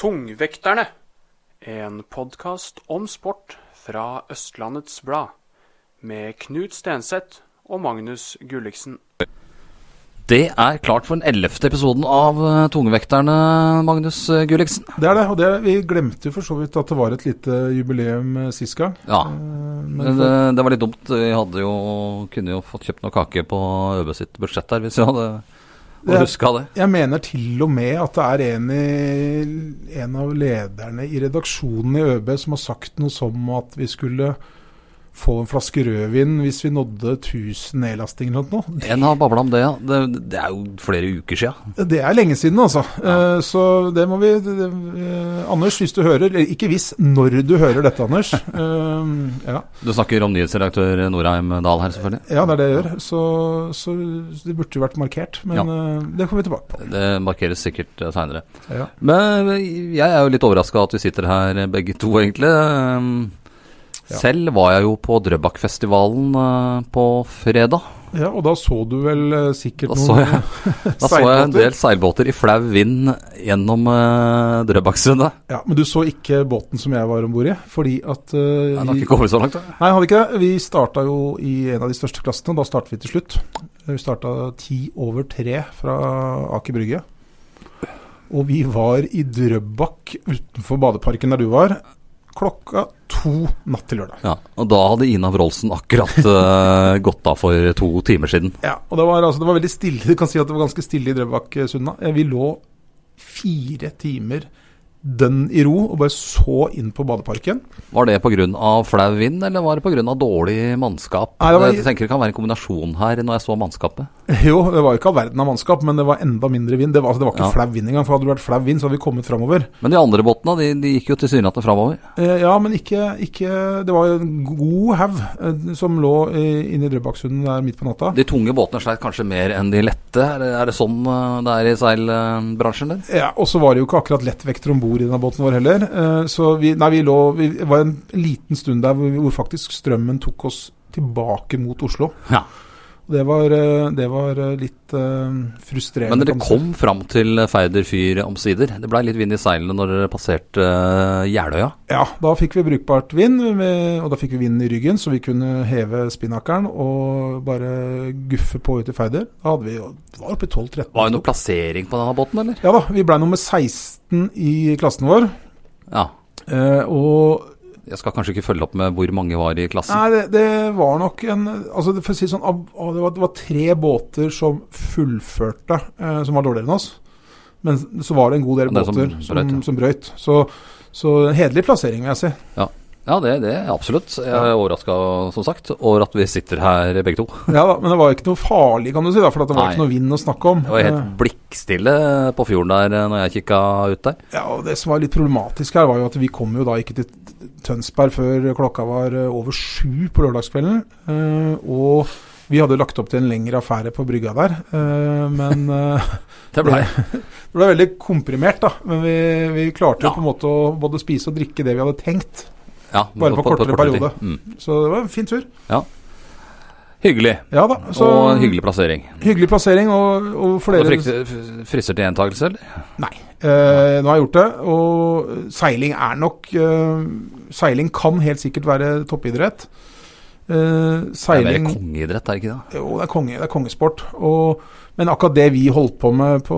Tungvekterne, en podkast om sport fra Østlandets Blad, med Knut Stenseth og Magnus Gulliksen. Det er klart for den ellevte episoden av eh, Tungvekterne, Magnus eh, Gulliksen. Det er det, og det, vi glemte jo for så vidt at det var et lite jubileum eh, sist gang. Ja, Eh, men Men det, for, det var litt dumt. Vi hadde jo, kunne jo fått kjøpt noe kake på Øbø sitt budsjett der, hvis vi hadde Det- huska det. jeg mener til og med at det er en, i, en av lederne i redaksjonen i ØB som har sagt noe som at vi skulle få en flaske rødvin hvis vi nådde 1000 nedlastinger eller noe. sånt nå. En har babla om det, ja. Det, det er jo flere uker sia. Det er lenge siden, altså. Eh, Så det må vi det, eh, Anders, hvis du hører eller Ikke hvis, når du hører dette, Anders. Eh, ja. Du snakker om nyhetsredaktør Norheim Dahl her, selvfølgelig. Ja, det er det jeg gjør. Så, så det burde jo vært markert. Men eh, det kommer vi tilbake på. Det markeres sikkert seinere. Ja. Men eh, jeg er jo litt overraska at vi sitter her eh, begge to, egentlig. Um, Ja. Selv var jeg jo på Drøbakfestivalen eh, på fredag. ja, og da så du vel eh, sikkert Da så noen jeg, da så jeg en del seilbåter i flau vind gjennom uh, Drøbaksundet. Ja, Men du så ikke båten som jeg var om bord i? Fordi at eh, Den har vi- ikke kommet så langt, da. Nei, hadde ikke det. Vi starta jo i en av de største klassene, og da startet vi til slutt. Vi starta ti over tre fra Aker Brygge. Og vi var i Drøbak utenfor badeparken der du var, klokka to natt til lørdag. Ja, og da hadde Ina Wroldsen akkurat eh, gått av for to timer siden. Ja, og det var, altså, det var veldig stille. Du kan si at det var ganske stille i Drøbaksunna. Eh, Vi lå fire timer dønn i ro og bare så inn på badeparken. Var det pga. flau vind, eller var det pga. dårlig mannskap? Nei, det var- Jeg tenker det kan være en kombinasjon her, når jeg så mannskapet. Jo, det var jo ikke all verden av mannskap, men det var enda mindre vind. Det var, altså, det var ikke Ja. flau vind engang, for hadde det vært flau vind, så hadde vi kommet framover. Men de andre båtene, de, de gikk jo tilsynelatende framover. Eh, ja, men ikke, ikke Det var jo en god haug eh, som lå eh, inne i Drøbaksunden der midt på natta. De tunge båtene sleit kanskje mer enn de lette. Er det, er det sånn eh, det er i seilbransjen? der? Ja, Og så var det jo ikke akkurat lettvekter om bord i denne båten vår heller. Eh, Så vi, nei, vi lå Vi det var en liten stund der hvor, vi, hvor faktisk strømmen tok oss tilbake mot Oslo. Ja. Og Det var, eh, det var eh, litt eh, frustrerende. Men dere kan man si. kom fram til Færder fyr omsider. Det blei litt vind i seilene når dere passerte eh, Jeløya. Ja, da fikk vi brukbart vind, med- og da fikk vi vinden i ryggen, så vi kunne heve spinnakeren og bare guffe på ut i Færder. Da hadde vi jo Det var oppe i 12-13. Var det noe plassering på denne båten, eller? Ja da, vi blei nummer 16 i klassen vår. Ja. eh, Og Jeg skal kanskje ikke følge opp med hvor mange var i klassen. Nei, det, det var nok en altså det- for å si det sånn, av- av- det, var, det var tre båter som fullførte, eh, som var dårligere enn oss. Men så var det en god del Og det som båter som, brøyt, ja. som brøyt. Så, så en hederlig plassering, vil jeg si. Ja, det, det er absolutt. Jeg er overraska, som sagt, over at vi sitter her begge to. Ja da, Men det var ikke noe farlig, kan du si, da, for at det var Nei. ikke noe vind å snakke om. Det var helt Eh, blikkstille på fjorden der eh, når jeg kikka ut der. Ja, og Det som var litt problematisk her, var jo at vi kom jo da ikke til Tønsberg før klokka var eh, over sju på lørdagskvelden. eh, Og vi hadde lagt opp til en lengre affære på brygga der, eh, men eh, Det blei Det ble veldig komprimert, da. Men vi, vi klarte Ja. jo på en måte å både spise og drikke det vi hadde tenkt. ja, Bare på kortere tid. periode. Mm. Så det var en fin tur. Hyggelig. Ja da. Så og en hyggelig plassering. hyggelig plassering. Og, og for Og dere frykter- f- frister til gjentakelse, eller? Nei. Eh, nå har jeg gjort det. Og seiling er nok eh, Seiling kan helt sikkert være toppidrett. Eh, Det er mer seiling kongeidrett, er det ikke det? Jo, det er, konge, det er kongesport. Og, men akkurat det vi holdt på med på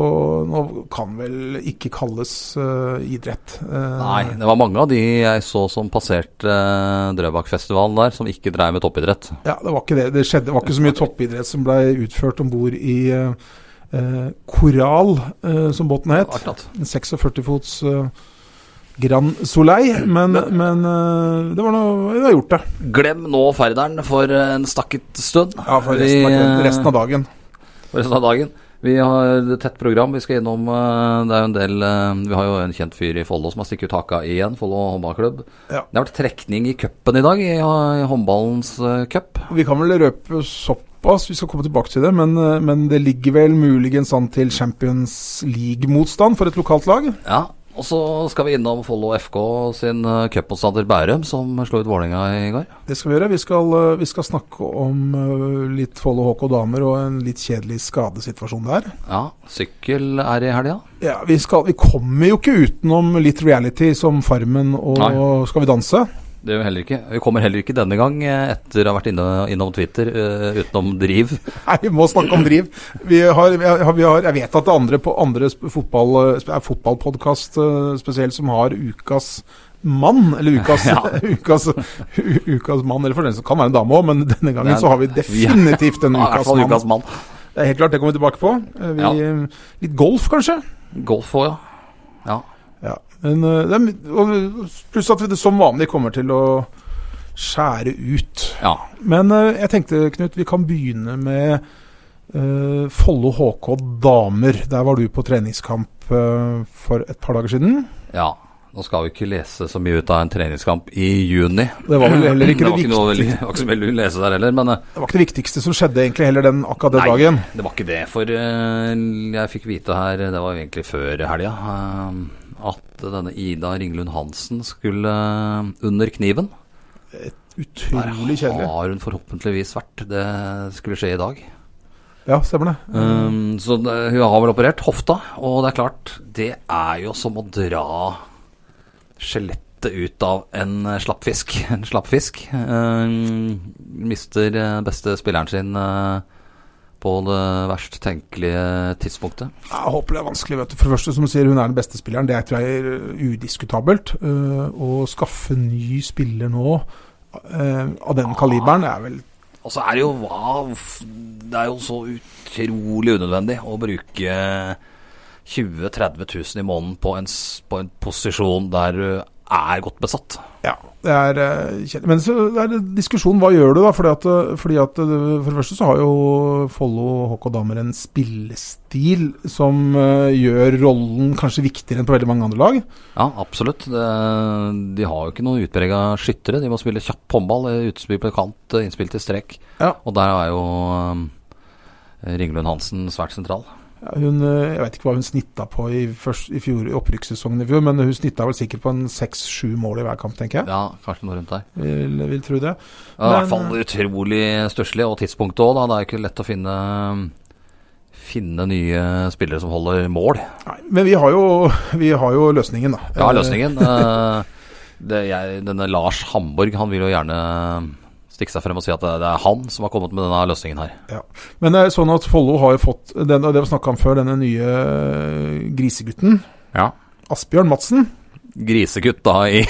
nå, kan vel ikke kalles eh, idrett. Eh, Nei, det var mange av de jeg så som passerte eh, Drøbakfestivalen der, som ikke dreiv med toppidrett. Ja, det var ikke det. Det, skjedde, det var ikke så mye toppidrett som ble utført om bord i eh, eh, Koral, eh, som båten het. Akkurat. En 46 fots eh, Grand Soleil. Men, men eh, det var noe Vi har gjort det. Glem nå ferderen for en stakket stund. Ja, for resten, Vi, av, eh, resten av dagen. for resten av dagen. Vi har et tett program. Vi skal innom eh, Det er jo en del eh, Vi har jo en kjent fyr i Follo som har stikket ut haka igjen. Follo håndballklubb. Ja. Det har vært trekning i cupen i dag. I, i håndballens eh, cup. Vi kan vel røpe såpass, vi skal komme tilbake til det, men, eh, men det ligger vel muligens an til Champions League-motstand for et lokalt lag. Ja. Og så skal vi innom Follo FK sin eh, cupmotstander Bærum, som slo ut Vålerenga i går. Det skal vi gjøre. Vi skal, eh, vi skal snakke om eh, litt Follo HK damer og en litt kjedelig skadesituasjon der. Ja. Sykkel er i helga. Ja, vi, skal, vi kommer jo ikke utenom litt reality som Farmen og Nei. Skal vi danse. Det gjør vi heller ikke. Vi kommer heller ikke denne gang, eh, etter å ha vært inne, innom Twitter, eh, utenom Driv. Nei, vi må snakke om driv. Vi har, vi har, vi har, jeg vet at det er andre, på- andre sp- fotball, eh, er fotballpodkast eh, spesielt som har ukas mann, eller ukas, Ja. ukas, u, ukas mann, eller for den som kan være en dame òg, men denne gangen Det er- så har vi definitivt en Ja, I hvert ukas fall mann. ukas mann. Det er helt klart, det kommer vi tilbake på. Eh, Vi, Litt golf, kanskje? Golf òg, ja. ja. Ja. Men, eh, det er, my- og pluss at vi det som vanlig kommer til å skjære ut. Ja. Men eh, jeg tenkte, Knut, vi kan begynne med eh, Follo HK damer. Der var du på treningskamp eh, for et par dager siden. ja. Nå skal vi ikke lese så mye ut av en treningskamp i juni. Det var vel heller ikke det, var viktig- noe veldig- det var ikke så veldig å lese der heller, men eh, det var ikke det viktigste som skjedde egentlig heller den akkurat den Nei. dagen. det var ikke det. For eh, jeg fikk vite her, det var jo egentlig før helga, eh, at denne Ida Ringlund Hansen skulle eh, under kniven. Utrolig Der kjedelig. har hun forhåpentligvis vært. Det skulle skje i dag. Ja, stemmer det. Um, så det- hun har vel operert hofta, og det er klart, det er jo som å dra skjelettet ut av en eh, slappfisk. En slappfisk um, mister eh, beste spilleren sin eh, på det verst tenkelige tidspunktet. Jeg håper det er vanskelig. vet du. For det første, som du sier, hun er den beste spilleren. Det er, tror jeg er udiskutabelt. Eh, å skaffe ny spiller nå eh, av den kaliberen er vel Og så er det jo hva f- Det er jo så utrolig unødvendig å bruke 20 000-30 000 i måneden på en, s- på en posisjon der du er godt besatt. Ja, det er eh, kjedelig. Men så er det diskusjon, hva gjør du da? Fordi at, eh, fordi at eh, For det første så har jo Follo HK Damer en spillestil som eh, gjør rollen kanskje viktigere enn på veldig mange andre lag. Ja, absolutt. Det, de har jo ikke noen utprega skyttere. De må spille kjapp håndball, eh, utspill på kant, eh, innspill til strek. Ja. Og der er jo eh, Ringelund Hansen svært sentral. Ja, Hun, eh, jeg vet ikke hva hun snitta på i, først, i fjor, i opprykkssesongen i fjor, men hun snitta vel sikkert på en seks-sju mål i hver kamp, tenker jeg. Ja, kanskje noe rundt der. Vil, vil tro det. Ja, I Men- hvert fall utrolig stusslig, og tidspunktet òg, da. Det er jo ikke lett å finne Finne nye spillere som holder mål. Nei, men vi har jo, vi har jo løsningen, da. Ja, Eh, løsningen. eh, det, jeg, denne Lars Hamborg, han vil jo gjerne eh, stikke seg frem og si at det, det er han som har kommet med denne løsningen her. Men det er sånn at Follo har jo fått, den, og det var snakka om før, denne nye eh, grisegutten. Ja. Asbjørn Madsen. grisegutt da i,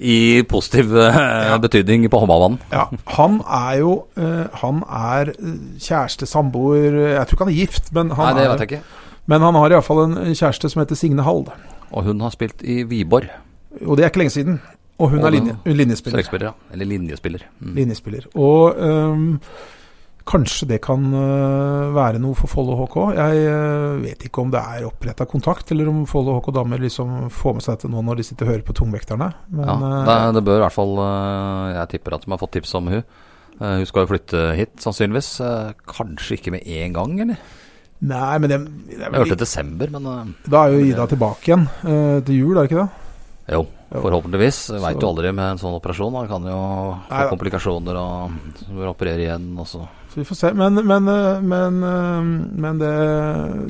i positiv eh, betydning på håndballbanen. Ja, han er jo eh, Han er eh, kjæreste, samboer eh, Jeg tror ikke han er gift, men Nei, han, det er, vet jeg ikke. men han har iallfall en kjæreste som heter Signe Hall. Og hun har spilt i Wiborg. Og det er ikke lenge siden. Og hun Og er linje, hun er linjespiller. Strekspiller, ja. Eller linjespiller. Mm. linjespiller. Og ehm, kanskje det kan eh, være noe for Follo HK. Jeg eh, vet ikke om det er oppretta kontakt, eller om Follo HK damer liksom får med seg dette nå når de sitter og hører på tungvekterne. Men Ja, eh, det, det bør i hvert fall eh, Jeg tipper at de har fått tips om hun. Eh, Hun skal jo flytte hit, sannsynligvis. Eh, Kanskje ikke med en gang, eller? nei, men det, det er Jeg vel, hørte desember, men eh, da er jo Ida tilbake igjen eh, til jul, er det ikke det? jo. Jo. Forhåpentligvis. Så- Veit jo aldri med en sånn operasjon. Man kan jo få Nei, da. komplikasjoner og så må du operere igjen. Og så. Så vi får se. Men, men, eh, men, eh, men det,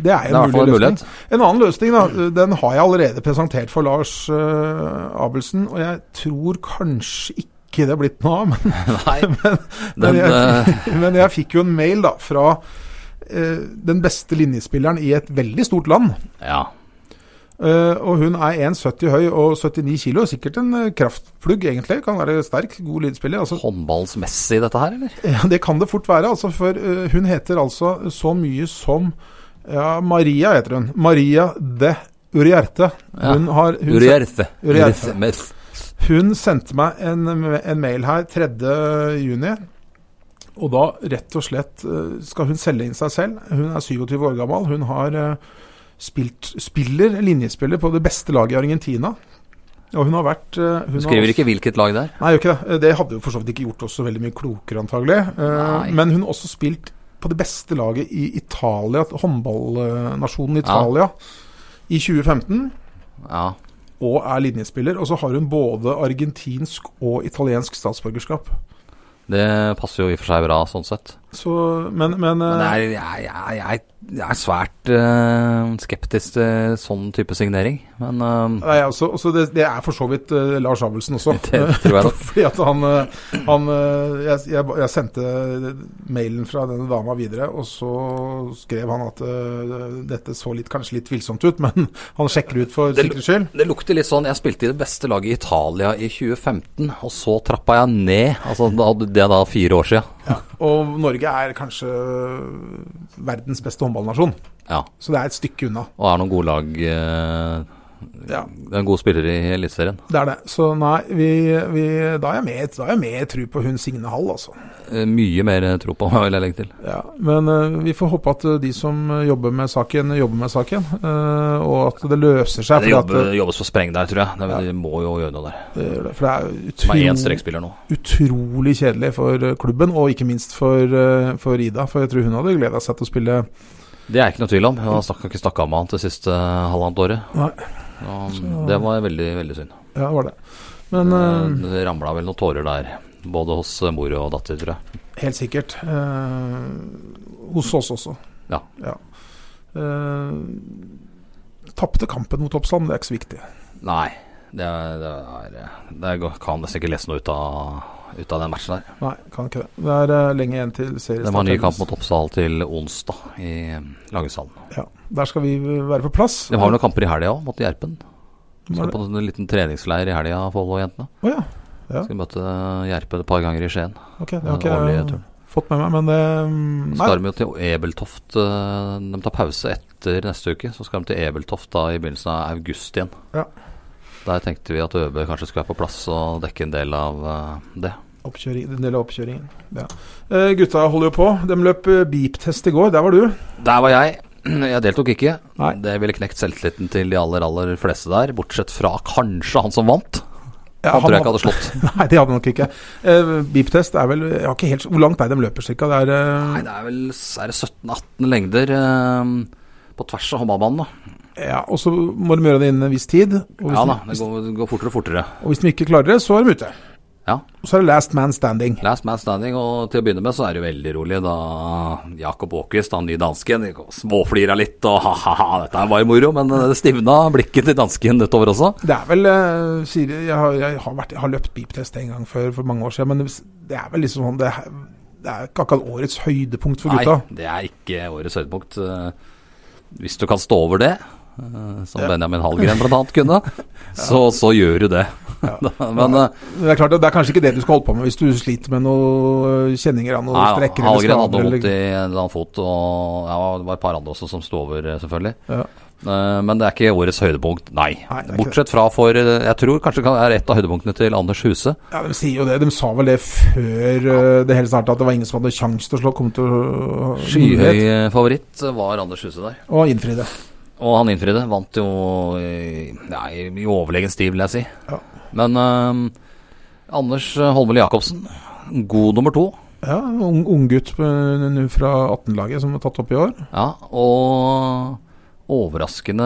det Det er er i jo en hvert fall mulig en løsning. mulighet. En annen løsning, da, den har jeg allerede presentert for Lars eh, Abelsen, og jeg tror kanskje ikke det er blitt noe av. Men, Nei, men, den, eh, jeg, men jeg fikk jo en mail da fra eh, den beste linjespilleren i et veldig stort land. ja. Eh, og hun er 1,70 høy og 79 kilo. Sikkert en eh, kraftplugg, egentlig. Kan være sterk, god lydspiller. Altså, Håndballsmessig, dette her, eller? Ja, det kan det fort være. Altså, for eh, hun heter altså så mye som ja, Maria heter hun. Maria de Urierte. Ja. Hun, har, hun, Uriarte. Uriarte. Uriarte. Meth. sen- hun sendte meg en, en mail her 3. juni. Og da rett og slett eh, skal hun selge inn seg selv. Hun er 27 år gammel. Hun har eh, spilt, spiller, linjespiller på det beste laget i Argentina. Og hun har vært eh, hun Du har skriver også- ikke hvilket lag det er. Nei, gjør ikke det. Det hadde jo for så vidt ikke gjort oss så veldig mye klokere, antagelig. Eh, Nei. Men hun har også spilt på det beste laget i Italia, håndballnasjonen Italia, i 2015. Ja. Og er linjespiller. Og så har hun både argentinsk og italiensk statsborgerskap. Det passer jo i og for seg bra, sånn sett. Så, men, men, Men det eh, er, jeg, jeg, jeg, jeg er svært eh, skeptisk til sånn type signering. Men eh, Nei, altså, altså det, det er for så vidt eh, Lars Avelsen også. det tror jeg nok. Fordi at han, eh, han eh, jeg, jeg, jeg sendte mailen fra denne dama videre, og så skrev han at eh, dette så litt, kanskje litt tvilsomt ut, men han sjekker ut for Det- sikkerhets skyld. Det lukter litt sånn Jeg spilte i det beste laget i Italia i 2015, og så trappa jeg ned. Altså, da, det er da fire år sia. Og Norge er kanskje verdens beste håndballnasjon, Ja. så det er et stykke unna. Og er noen gode lag eh, Ja. Det er en god spiller i Eliteserien. Det er det. Så nei, vi, vi, da er jeg mer- da er jeg mer tru på hun Signe Hall, altså. Eh, Mye mer tro på, vil jeg legge til. Ja, men eh, vi får håpe at eh, de som eh, jobber med saken, jobber med saken. eh, og at det løser seg. Det fordi at, jobber, jobbes for spreng der, tror jeg. Det, Ja. De må jo gjøre noe der. eh, det gjør det, for det er Som er én utro, strekspiller nå. utrolig kjedelig for eh, klubben, og ikke minst for, eh, for Ida. For jeg tror hun hadde gleda seg til å spille Det er jeg ikke noe tvil om. Jeg har snakka- ikke snakka med han det siste eh, halvannet året. Nei. Og Så- Det var veldig, veldig synd. Ja, det var det. Men eh, det ramla vel noen tårer der. Både hos eh, mor og datter, tror jeg. helt sikkert eh, hos oss også. Ja. ja. Eh, Tapte kampen mot Oppsal, men det er ikke så viktig. Nei, det, er, det, er, eh, det er, kan nesten ikke lese noe ut av, ut av den matchen der. Nei, kan ikke det. Det er eh, lenge igjen til seriestart. De har ny kamp heldigvis. mot Oppsal til onsdag i Langesand. Ja, Der skal vi være på plass. De har vel noen kamper i helga òg, mot Gjerpen. Var Skal det- på en liten treningsleir i helga, Follo-jentene. Å ja. Ja. Skal møte eh, Gjerpen et par ganger i Skien. Ok, det Den har ikke årlige jeg turen. fått med meg, men det mm, Så Nei. skal de jo til Ebeltoft. eh, De tar pause etter neste uke. Så skal de til Ebeltoft da i begynnelsen av august igjen. Ja. Der tenkte vi at ØB kanskje skulle være på plass og dekke en del av eh, det. Oppkjøring, den delen av oppkjøringen. Ja. Eh, gutta holder jo på. De løp eh, beep-test i går. Der var du. Der var jeg. Jeg deltok ikke. Nei. Det ville knekt selvtilliten til de aller aller fleste der, bortsett fra kanskje han som vant. Ja, Han tror jeg ikke hadde- hadde slått. Nei, det hadde han nok ikke. Eh, beep-test er vel jeg har ikke helt, Hvor langt er det de løper, cirka? Det er, eh, Nei, det er vel er det 17-18 lengder eh, på tvers av håndballbanen. da. ja, og så må de gjøre det innen en viss tid. Og hvis, Ja da, de, det hvis, går, det går fortere og fortere. og hvis de ikke klarer det, så er de ute. Ja. Og så er det last man standing. Last man standing, og til å begynne med så er det jo veldig rolig da Jakob Åkvist, han nye dansken, småflira litt og ha-ha-ha, dette var moro, men det stivna blikket til dansken utover også. Det er vel eh, sier, jeg, har, jeg, har vært, jeg har løpt beep-test en gang før for mange år siden, men det, det er vel liksom sånn Det, er- det er ikke akkurat årets høydepunkt for gutta. Nei, det er ikke årets høydepunkt. Eh, Hvis du kan stå over det, eh, som Benjamin Hallgren bl.a. kunne, så, så gjør du det. Men eh, Men Det er klart at det er kanskje ikke det du skal holde på med hvis du sliter med noen kjenninger av noen nei, strekker eller Hallgren hadde skader. vondt i en Eller, eller annen fot, og ja, det var et par andre også som sto over, eh, selvfølgelig. Ja. Eh, Men det er ikke årets høydepunkt, nei. Nei, det er ikke Bortsett fra for eh, Jeg tror kanskje det er et av høydepunktene til Anders Huse. ja, De sier jo det. De sa vel det før eh, det hele startet, at det var ingen som hadde kjangs til å slå komme til å Skyhøy eh, favoritt eh, var Anders Huse der. Og innfri det. Og han innfridde. Vant jo i, ja, i i overlegen stil, vil jeg si. Ja. Men eh, Anders Holmeli Jacobsen, god nummer to. Ja, ung, ung gutt eh, nå fra 18-laget som er tatt opp i år. Ja, og overraskende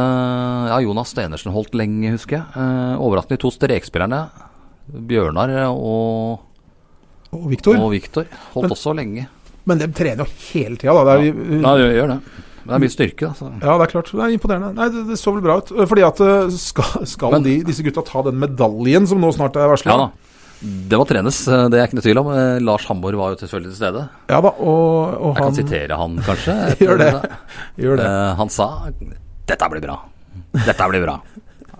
Ja, Jonas Stenersen holdt lenge, husker jeg. Eh, overraskende de to strekspillerne, Bjørnar og, Og Viktor. og Viktor, holdt Men- også lenge. Men de trener jo hele tida, da. Det er, jo- Ja, gjør, gjør det. Men det er mye styrke, altså. da. Så. Ja, det er klart. Det er imponerende. Nei, det, det så vel bra ut. Eh, Fordi at eh, skal, skal Men- de, disse gutta ta den medaljen som nå snart er varsla? Ja da. Det må trenes, eh, det er ikke noe tvil om. Eh, Lars Hamborg var jo selvfølgelig til stede. Ja da, og, og Jeg kan han sitere han, kanskje. Gjør det. gjør det. Eh, han sa 'Dette blir bra'. Dette blir bra.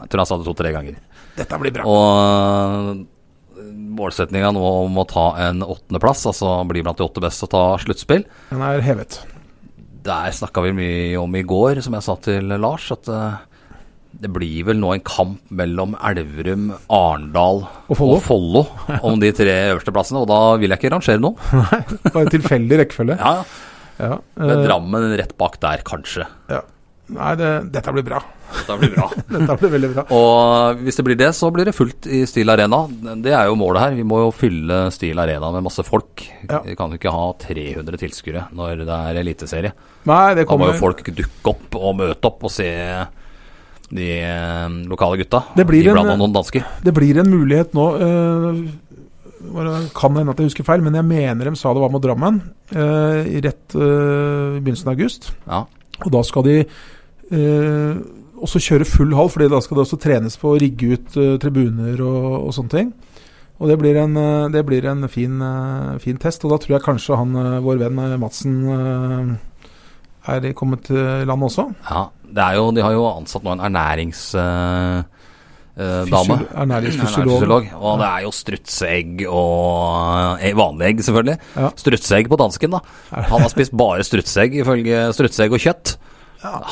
Jeg tror han sa det to-tre ganger. Dette blir bra. Og målsetninga nå om å ta en åttendeplass, altså bli blant de åtte beste og ta sluttspill, Den er hevet. der snakka vi mye om i går, som jeg sa til Lars, at eh, Det blir vel nå en kamp mellom Elverum, Arendal Og Follo. og Follo om de tre øverste plassene, og da vil jeg ikke rangere noen. Bare en tilfeldig rekkefølge. Ja, ja. Ja. Med eh, Drammen rett bak der, kanskje. Nei, det, dette blir bra. Det blir bra. Dette blir veldig bra. Og hvis det blir det, så blir det fullt i Steel Arena. Det er jo målet her. Vi må jo fylle Steel Arena med masse folk. Ja. Vi kan jo ikke ha 300 tilskuere når det er eliteserie. Nei, det Da må kommer jo folk dukke opp og møte opp og se de eh, lokale gutta. Det blir en- eh, Iblant noen dansker. Det blir en mulighet nå eh, bare- Kan hende at jeg husker feil, men jeg mener de sa det var mot Drammen. eh, i rett eh, i begynnelsen av august. Ja. Og da skal de eh, også kjøre full hall, Fordi da skal det også trenes på å rigge ut eh, tribuner og, og sånne ting. Og det blir en, eh, det blir en fin, eh, fin test. Og da tror jeg kanskje han, eh, vår venn eh, Madsen eh, er kommet til landet også. ja. Det er jo, de har jo ansatt nå en ernæringsdame. dame Fysiol- Ernæringsfysiolog. Ernæringsfysiolog. Og det er jo strutseegg og eh, vanlige egg, selvfølgelig. Ja. Strutseegg på dansken, da. Han har spist bare strutseegg, ifølge strutseegg og kjøtt.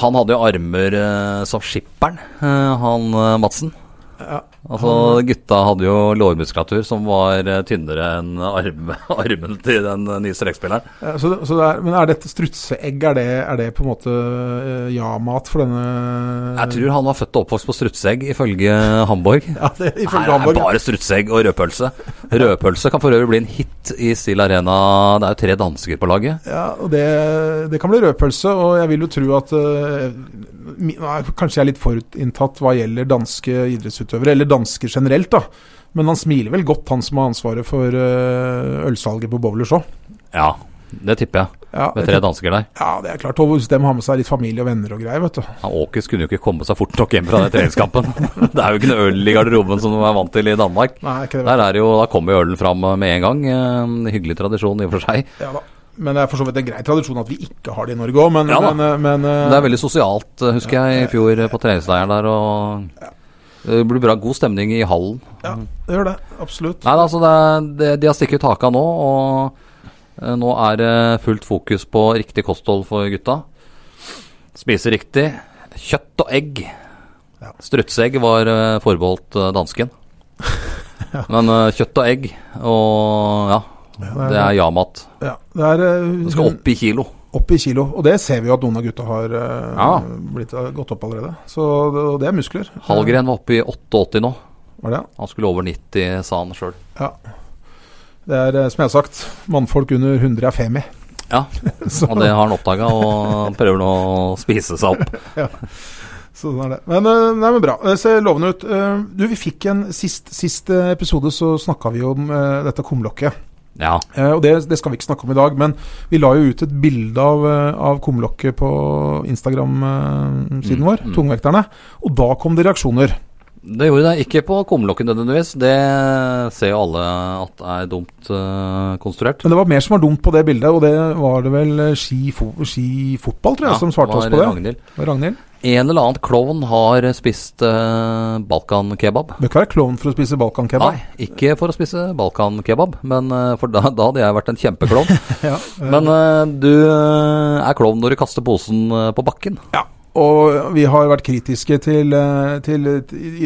Han hadde jo armer eh, som skipperen, eh, han eh, Madsen. Ja. Altså, gutta hadde jo lårmuskulatur som var eh, tynnere enn arm, armen til den eh, nye strekspilleren. Ja, Så, det- så det er, men er dette strutseegg, er det, er det på en måte eh, ja-mat for denne Jeg tror han var født og oppvokst på strutseegg, ifølge Hamburg. ja, det, Her Ifølge er det Hamburg. bare strutseegg og rødpølse. Rødpølse kan for øvrig bli en hit i Steel Arena. Det er jo tre dansker på laget. Ja, og det, det kan bli rødpølse, og jeg vil jo tro at eh, mi- nei, Kanskje jeg er litt forutinntatt hva gjelder danske idrettsutøvere, eller dansker generelt, da. Men han smiler vel godt, han som har ansvaret for eh, ølsalget på Bowlers òg. Ja, det tipper jeg. Ja, Med det- tre dansker der. ja, det er klart. Og hvis de har med seg litt familie og venner og greier, vet du. Ja, Åkes kunne jo ikke komme seg fort nok hjem fra den treningskampen. det er jo ikke noe øl i garderoben som de er vant til i Danmark. Nei, ikke det. Der er jo, Da kommer jo ølen fram med en gang. Eh, Hyggelig tradisjon i og for seg. Ja, da. Men det er for så vidt en grei tradisjon at vi ikke har det i Norge òg, men, Ja, da. men, eh, men eh, Det er veldig sosialt, eh, husker jeg, i fjor eh, på treningsleiren der. og eh, Det blir bra, god stemning i hallen. Ja, det gjør det. Absolutt. Nei, altså, det er, det, de har stikket ut haka nå, og eh, nå er det fullt fokus på riktig kosthold for gutta. Spise riktig. Kjøtt og egg. Ja. Strutseegg var eh, forbeholdt eh, dansken. Men eh, kjøtt og egg og ja, det er ja-mat. Ja, det er eh, Det skal opp i kilo. opp i kilo. Og det ser vi jo at noen av gutta har eh, Ja. blitt, eh, gått opp allerede. Så det, og det er muskler. Eh, Hallgren var oppe i 88 nå. Var det, ja. Han skulle over 90, sa han sjøl. det er eh, som jeg har sagt, mannfolk under 100 er femi. Ja, Så, og det har han oppdaga, og prøver nå å spise seg opp. så sånn er det. Men, eh, nei, men bra. Det ser lovende ut. Eh, Du, vi fikk en sist, sist eh, episode så snakka vi om eh, dette kumlokket. Ja, Eh, Og det, det skal vi ikke snakke om i dag, men vi la jo ut et bilde av, eh, av kumlokket på Instagram-siden Mm, vår, mm. Tungvekterne. Og da kom det reaksjoner. Det gjorde det. Ikke på kumlokken nødvendigvis. Det ser jo alle at er dumt eh, konstruert. Men det var mer som var dumt på det bildet, og det var det vel eh, skifo skifotball, tror jeg, som svarte oss på det. Ragnhild. Det var Ragnhild. En eller annen klovn har spist eh, balkankebab. Bør ikke være klovn for å spise balkankebab. Nei, ikke for å spise balkankebab, men eh, for da, da hadde jeg vært en kjempeklovn. Ja, eh, men eh, du eh, er klovn når du kaster posen eh, på bakken. og vi har vært kritiske til, eh, til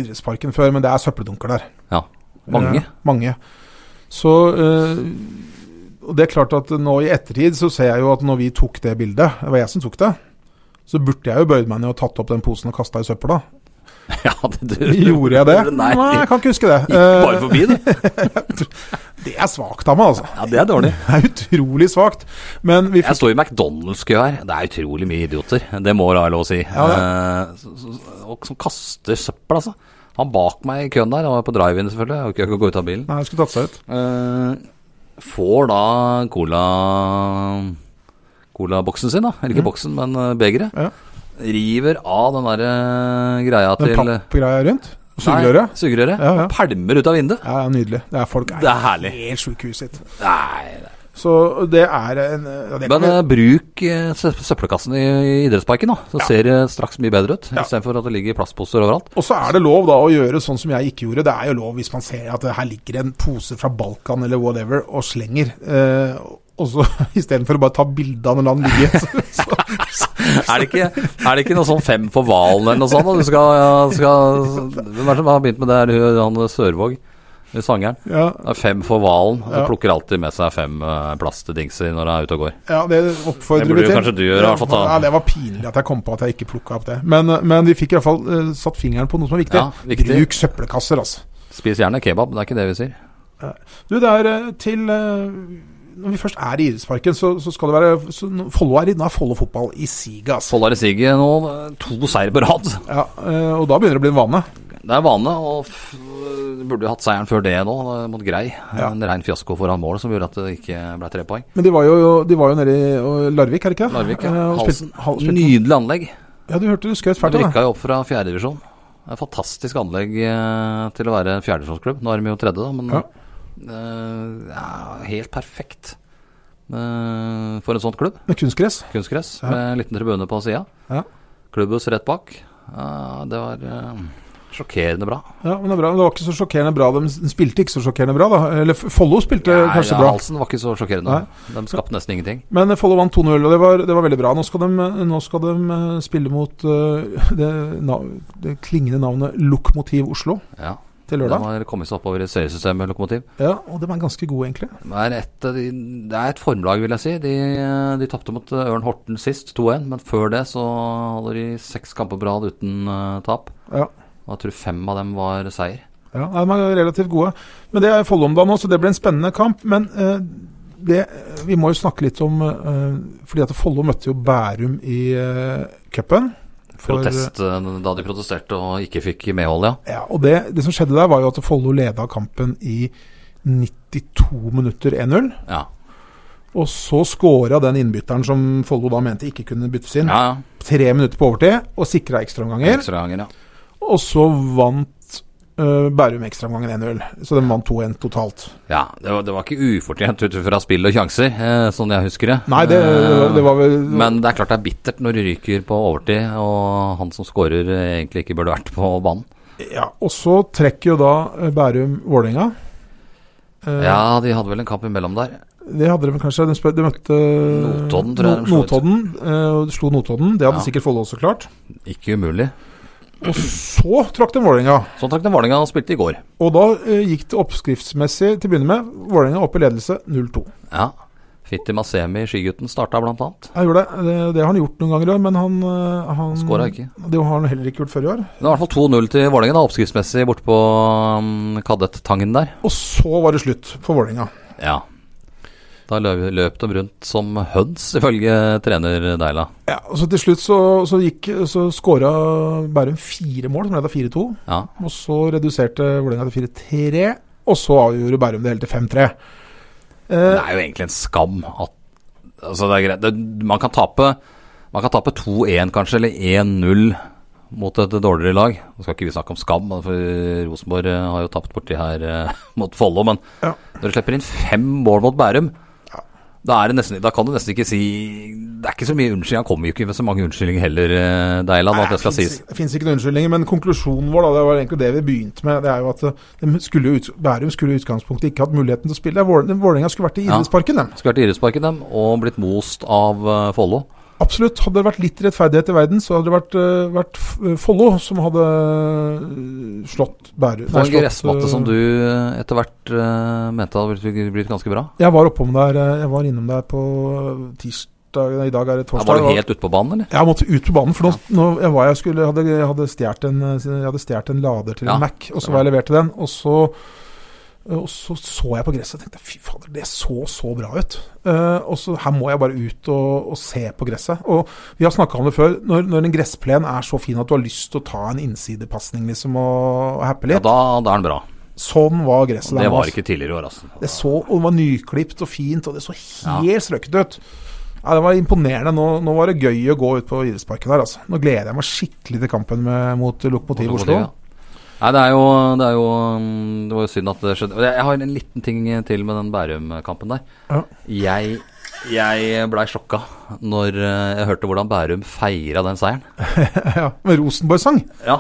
idrettsparken før, men det er søppeldunker der. Ja. Mange. Eh, mange. Så eh, Og det er klart at nå i ettertid så ser jeg jo at når vi tok det bildet, det var jeg som tok det, så burde jeg jo bøyd meg ned og tatt opp den posen og kasta i søpla. Ja, det, du, Gjorde jeg det? Nei. jeg kan ikke huske det. Gikk bare Eh, forbi, du. det er svakt av meg, altså. Ja, det er dårlig. Det er utrolig svakt. Men vi Jeg fikk står i McDonald's-kø her. Det er utrolig mye idioter. Det må da være lov å si. Eh, s- s- og som kaster søppel, altså. Han bak meg i køen der, han var på drive-in selvfølgelig, jeg orker ikke å gå ut av bilen. Nei, jeg skulle tatt seg ut. Eh, får da cola colaboksen sin, da. Eller ikke boksen, men eh, begeret. Mm. Ja. River av den der eh, greia Den til pappgreia rundt. Nei, Sugerøret. Sugerøret. Ja, ja. Og Pælmer ut av vinduet. Ja, ja, nydelig. Det er folk Det er herlig. helt sjuke i huet sitt. Nei, det- Så det er en ja, det kan Men vi- eh, bruk eh, sø- søppelkassen i, i idrettsparken, da. Så ser det straks mye bedre ut. Istedenfor at det ligger plastposer overalt. Og så er det lov da å gjøre sånn som jeg ikke gjorde. Det er jo lov hvis man ser at det her ligger en pose fra Balkan eller whatever og slenger. Eh, og så istedenfor å bare ta bilde av når han ligger, så, så, så, Er det, ikke, er det ikke noe sånn fem for hvalen eller noe sånt? da? Du skal, skal Hvem er det som har begynt med det? Er det han eh, Sørvåg, eh, sangeren? Ja, Det er Fem for hvalen. og Ja. Plukker alltid med seg fem eh, plastdingser når han er ute og går. ja det oppfordrer Det vi burde til. jo kanskje du gjøre, i hvert fall, da. Ja, det var pinlig at jeg kom på at jeg ikke plukka opp det. Men, men de fikk i hvert fall eh, satt fingeren på noe som var viktig. Ja, viktig. Bruk søppelkasser, altså. Spis gjerne kebab, det er ikke det vi sier. Du, det er eh, til eh, Når vi først er i idrettsparken, så, så skal det være så, nå- Follo er i, Nå er Follo fotball i siget, altså. Follo er i siget nå. eh, To seier på rad. Ja, eh, og da begynner det å bli en vane. Det er vane, og f burde jo hatt seieren før det nå, eh, mot Grei. Ja. En rein fiasko foran mål som gjorde at det ikke ble tre poeng. Men de var jo, de var jo nede i og Larvik, er det ikke det? Larvik, ja. Eh, og Halsen. spilte- hal- spilte- Nydelig anlegg. Ja, du hørte du skjøt fælt De av det. rykka jo opp fra fjerdedivisjon. Et fantastisk anlegg eh, til å være en fjerdedivisjonsklubb. Nå er de jo tredje, da, men Ja. eh, ja, helt perfekt eh, for en sånn klubb. Med kunstgress. Kunstgress Ja. med en liten tribune på sida. Ja. Klubbhus rett bak. Eh, det var eh, sjokkerende bra. Ja, men det, er bra. det var ikke så sjokkerende bra. De s- spilte ikke så sjokkerende bra, da. Eller F- Follo spilte Nei, kanskje ja, bra. Halsen var ikke så sjokkerende. De skapte nesten ingenting. Men eh, Follo vant 2-0, og det var, det var veldig bra. Nå skal de, nå skal de eh, spille mot eh, det, nav- det klingende navnet Lokomotiv Oslo Ja, til De lørdag. har kommet seg oppover i seriesystemet Lokomotiv. Ja, og de er ganske gode, egentlig. Det er et, av de- det er et formlag, vil jeg si. De, de tapte mot eh, Ørn Horten sist, 2-1. Men før det så hadde de seks kamper på rad uten eh, tap. Ja. Og jeg tror fem av dem var seier. Ja, nei, de er relativt gode. Men det er Follo om dagen nå, så det ble en spennende kamp. Men eh, det, vi må jo snakke litt om eh, Fordi at Follo møtte jo Bærum i eh, cupen. For- Protest, eh, da de protesterte og ikke fikk medhold, ja. Ja, og det, det som skjedde der, var jo at Follo leda kampen i 92 minutter 1-0. Ja, Og så scora den innbytteren som Follo da mente ikke kunne byttes inn, ja. tre minutter på overtid, og sikra ja. ekstraomganger. Ekstra ganger, ja. Og så vant eh, Bærum ekstraomgangen 1-0. Så de vant 2-1 totalt. ja det, var, det var ikke ufortjent ut fra spill og sjanser, eh, sånn jeg husker det. Nei, det, Eh, det var vel Men det er klart det er bittert når du ryker på overtid, og han som skårer eh, egentlig ikke burde vært på banen. Ja, og så trekker jo da eh, Bærum Vålerenga. Eh, Ja, de hadde vel en kamp imellom der. Det hadde de vel kanskje. De, spø- de møtte Notodden, tror jeg de slo ut. Notodden, eh, og de slo Notodden. Det hadde Ja. sikkert Follo også klart. Ikke umulig. Og så trakk de Vålerenga. Så trakk den Sånn Vålerenga og spilte i går. Og da eh, gikk det oppskriftsmessig til å begynne med. Vålerenga opp i ledelse 0-2. Ja. Fitti Masemi, Skigutten, starta blant annet. Jeg gjorde det. det. Det har han gjort noen ganger i år, men han, eh, han Skåra ikke. Det har han heller ikke gjort før i år. Det var i hvert fall 2-0 til Vålerenga, da, oppskriftsmessig borte på um, Kadettangen der. Og så var det slutt for Vålerenga. Ja. Da løp, løp de rundt som høns, ifølge trener Deila. Ja, og så til slutt så, så gikk Så skåra Bærum fire mål, som leda 4-2. Ja. Og så reduserte Vålerenga til 4-3. Og så avgjorde Bærum det hele til 5-3. Det Eh, er jo egentlig en skam at Altså, det er greit. Det, man kan tape Man kan tape 2-1, kanskje, eller 1-0 mot et dårligere lag. Nå skal ikke vi snakke om skam, for Rosenborg eh, har jo tapt borti her eh, mot Follo. Men Ja. når du slipper inn fem mål mot Bærum da, er det nesten, da kan du nesten ikke si Det er ikke så mye unnskyldning. Han kommer jo ikke med så mange unnskyldninger heller, eh, Deiland. at det skal sies. fins ikke noen unnskyldninger, men konklusjonen vår da, det var egentlig det vi begynte med. det er jo at eh, de skulle jo ut, Bærum skulle i utgangspunktet ikke hatt muligheten til å spille. Vål- Vålerenga skulle vært i Ja. idrettsparken, dem. Skulle vært idrettsparken dem, og blitt most av eh, Follo. Absolutt. Hadde det vært litt rettferdighet i verden, så hadde det vært, eh, vært F- eh, Follo som hadde eh, slått Bærum. På nei, en slått, eh, gressmatte som du eh, etter hvert eh, mente hadde blitt, blitt ganske bra. Jeg var oppom der, eh, jeg var innom der på eh, tirsdag nei, I dag er det Ja, torsdag. var du og- helt ute på banen, eller? Jeg måtte ut på banen, for nå, nå jeg var jeg skulle, hadde, jeg hadde stjålet en, eh, jeg hadde stjert en lader til Ja, en Mac, og det så var var jeg levert til den. Og så, eh, og så så jeg på gresset og tenkte fy fader, det så så bra ut. Eh, og så her må jeg bare ut og, og se på gresset. Og vi har snakka om det før, når, når en gressplen er så fin at du har lyst til å ta en innsidepasning liksom, og, og happe Ja, litt, da, da er den bra. sånn var gresset Det nå, var altså. ikke tidligere i år, altså. Det så, og det var nyklipt og fint, og det så helt strøket ut. Ja, det var imponerende. Nå, nå var det gøy å gå ut på idrettsparken her, altså. Nå gleder jeg meg skikkelig til kampen med, mot Lokomotiv Oslo. Ja. Nei, det er jo Det, er jo, mm, det var jo synd at det skjedde. Og Jeg jeg har en liten ting til med den Bærum-kampen der. Ja. Jeg, jeg blei sjokka når eh, jeg hørte hvordan Bærum feira den seieren. Ja, med Rosenborg-sang. Ja,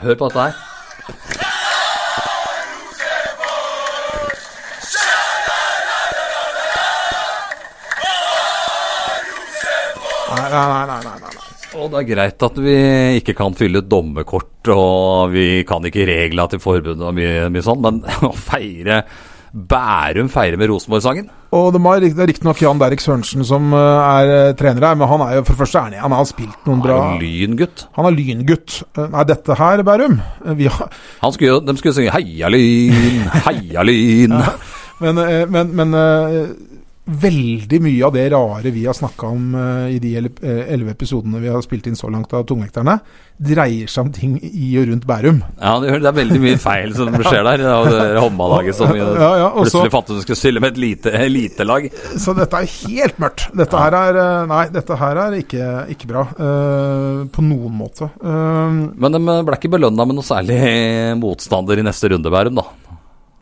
hør på dette her. Nei, nei, nei, nei, nei, nei. Og det er greit at vi ikke kan fylle ut dommerkort, og vi kan ikke regla til forbundet og mye, mye sånn, men å feire Bærum feirer med Rosenborg-sangen. Og de har, rikt- Det er riktignok Jan Derek Sørensen som eh, er eh, trener her, men han er jo for det første er han, han har spilt noen Han bra er jo lyngutt. Han er lyngutt. Eh, Nei, dette her, Bærum eh, vi har, Han skulle, jo- de skulle synge 'Heia Lyn, heia Lyn'. men, eh, men, men eh, veldig mye av det rare vi har snakka om eh, i de ele- eh, elleve episodene vi har spilt inn så langt av Tungvekterne, dreier seg om ting i og rundt Bærum. Ja, det er veldig mye feil som skjer der. Det er jo det håndballaget som Ja, ja, og så- plutselig fattet du skulle stille med et lite elitelag. Så dette er helt mørkt. Dette her er eh, Nei, dette her er ikke, ikke bra. eh, på noen måte. Eh, Men de ble ikke belønna med noe særlig motstander i neste runde, Bærum, da.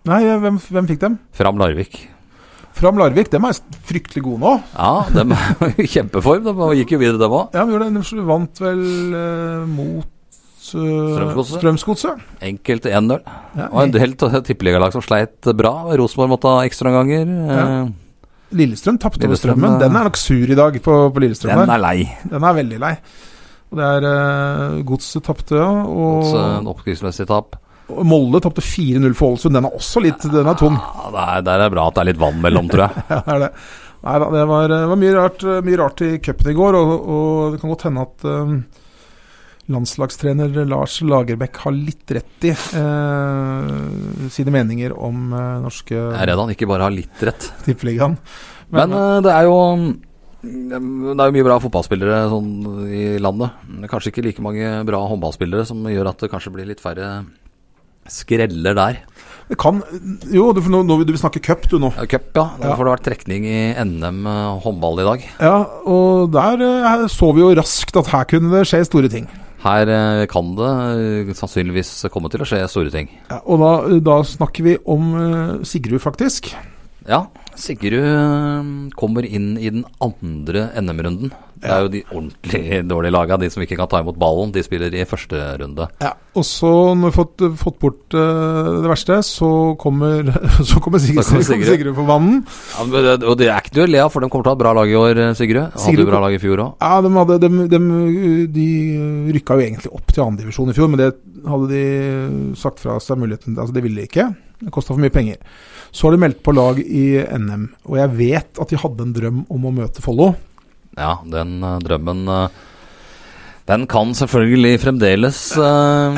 nei, hvem, hvem fikk dem? Fram Larvik. Fram Larvik. Dem er fryktelig gode nå. Ja, de er i kjempeform. De gikk jo videre, dem òg. Ja, men gjorde det. De vant vel eh, mot uh, Strømsgodset. Strømsgodset. Enkelt 1-0. Ja, Og en del t- tippeligalag som sleit bra. Rosenborg måtte ha ekstraomganger. Ja. Eh, Lillestrøm tapte over Lillestrøm, strømmen. eh, Den er nok sur i dag på, på Lillestrøm. Den Den er, er lei. den er veldig lei. Og det er eh, Godset tapte, ja. Og, Mot eh, en oppskriftsmessig tap. og Molde tapte 4-0 for Ålesund. Den er også litt Den er tung. Ja, det er, der er bra at det er litt vann mellom, tror jeg. Ja, det er det. Nei da, det var, det var mye, rart, mye rart i cupen i går, og, og det kan godt hende at eh, landslagstrener Lars Lagerbäck har litt rett i eh, sine meninger om eh, norske Jeg er redd han ikke bare har litt rett. tippeligaen. Men eh, det er jo mm, det er jo mye bra fotballspillere sånn, i landet. Men Kanskje ikke like mange bra håndballspillere, som gjør at det kanskje blir litt færre skreller der. det kan Jo, du, for nå, nå vil du snakke cup, du nå. Ja, Cup, ja. Ja. Da får det vært trekning i NM eh, håndball i dag. Ja, og der eh, så vi jo raskt at her kunne det skje store ting. Her eh, kan det eh, sannsynligvis komme til å skje store ting. Ja, og da, eh, da snakker vi om eh, Sigrud, faktisk. Ja, Sigrud eh, kommer inn i den andre NM-runden. Det er jo de ordentlig dårlige laga, de som ikke kan ta imot ballen. De spiller i første runde. Ja, og så når vi har fått, fått bort eh, det verste, så kommer, så kommer Sigrid, Da kommer Sigrud. Sigrud. på banen. Ja, men det- og det er ikke duell, ja, for de kommer til å ha et bra lag i år, eh, Sigrud. Hadde Sigrud jo bra lag i fjor òg. Ja, de, hadde, de, de, de rykka jo egentlig opp til andredivisjon i fjor, men det hadde de sagt fra seg muligheten Altså, det ville de ikke. Det kosta for mye penger. Så har de meldt på lag i NM, og jeg vet at de hadde en drøm om å møte Follo. Ja, den eh, drømmen eh, Den kan selvfølgelig fremdeles eh,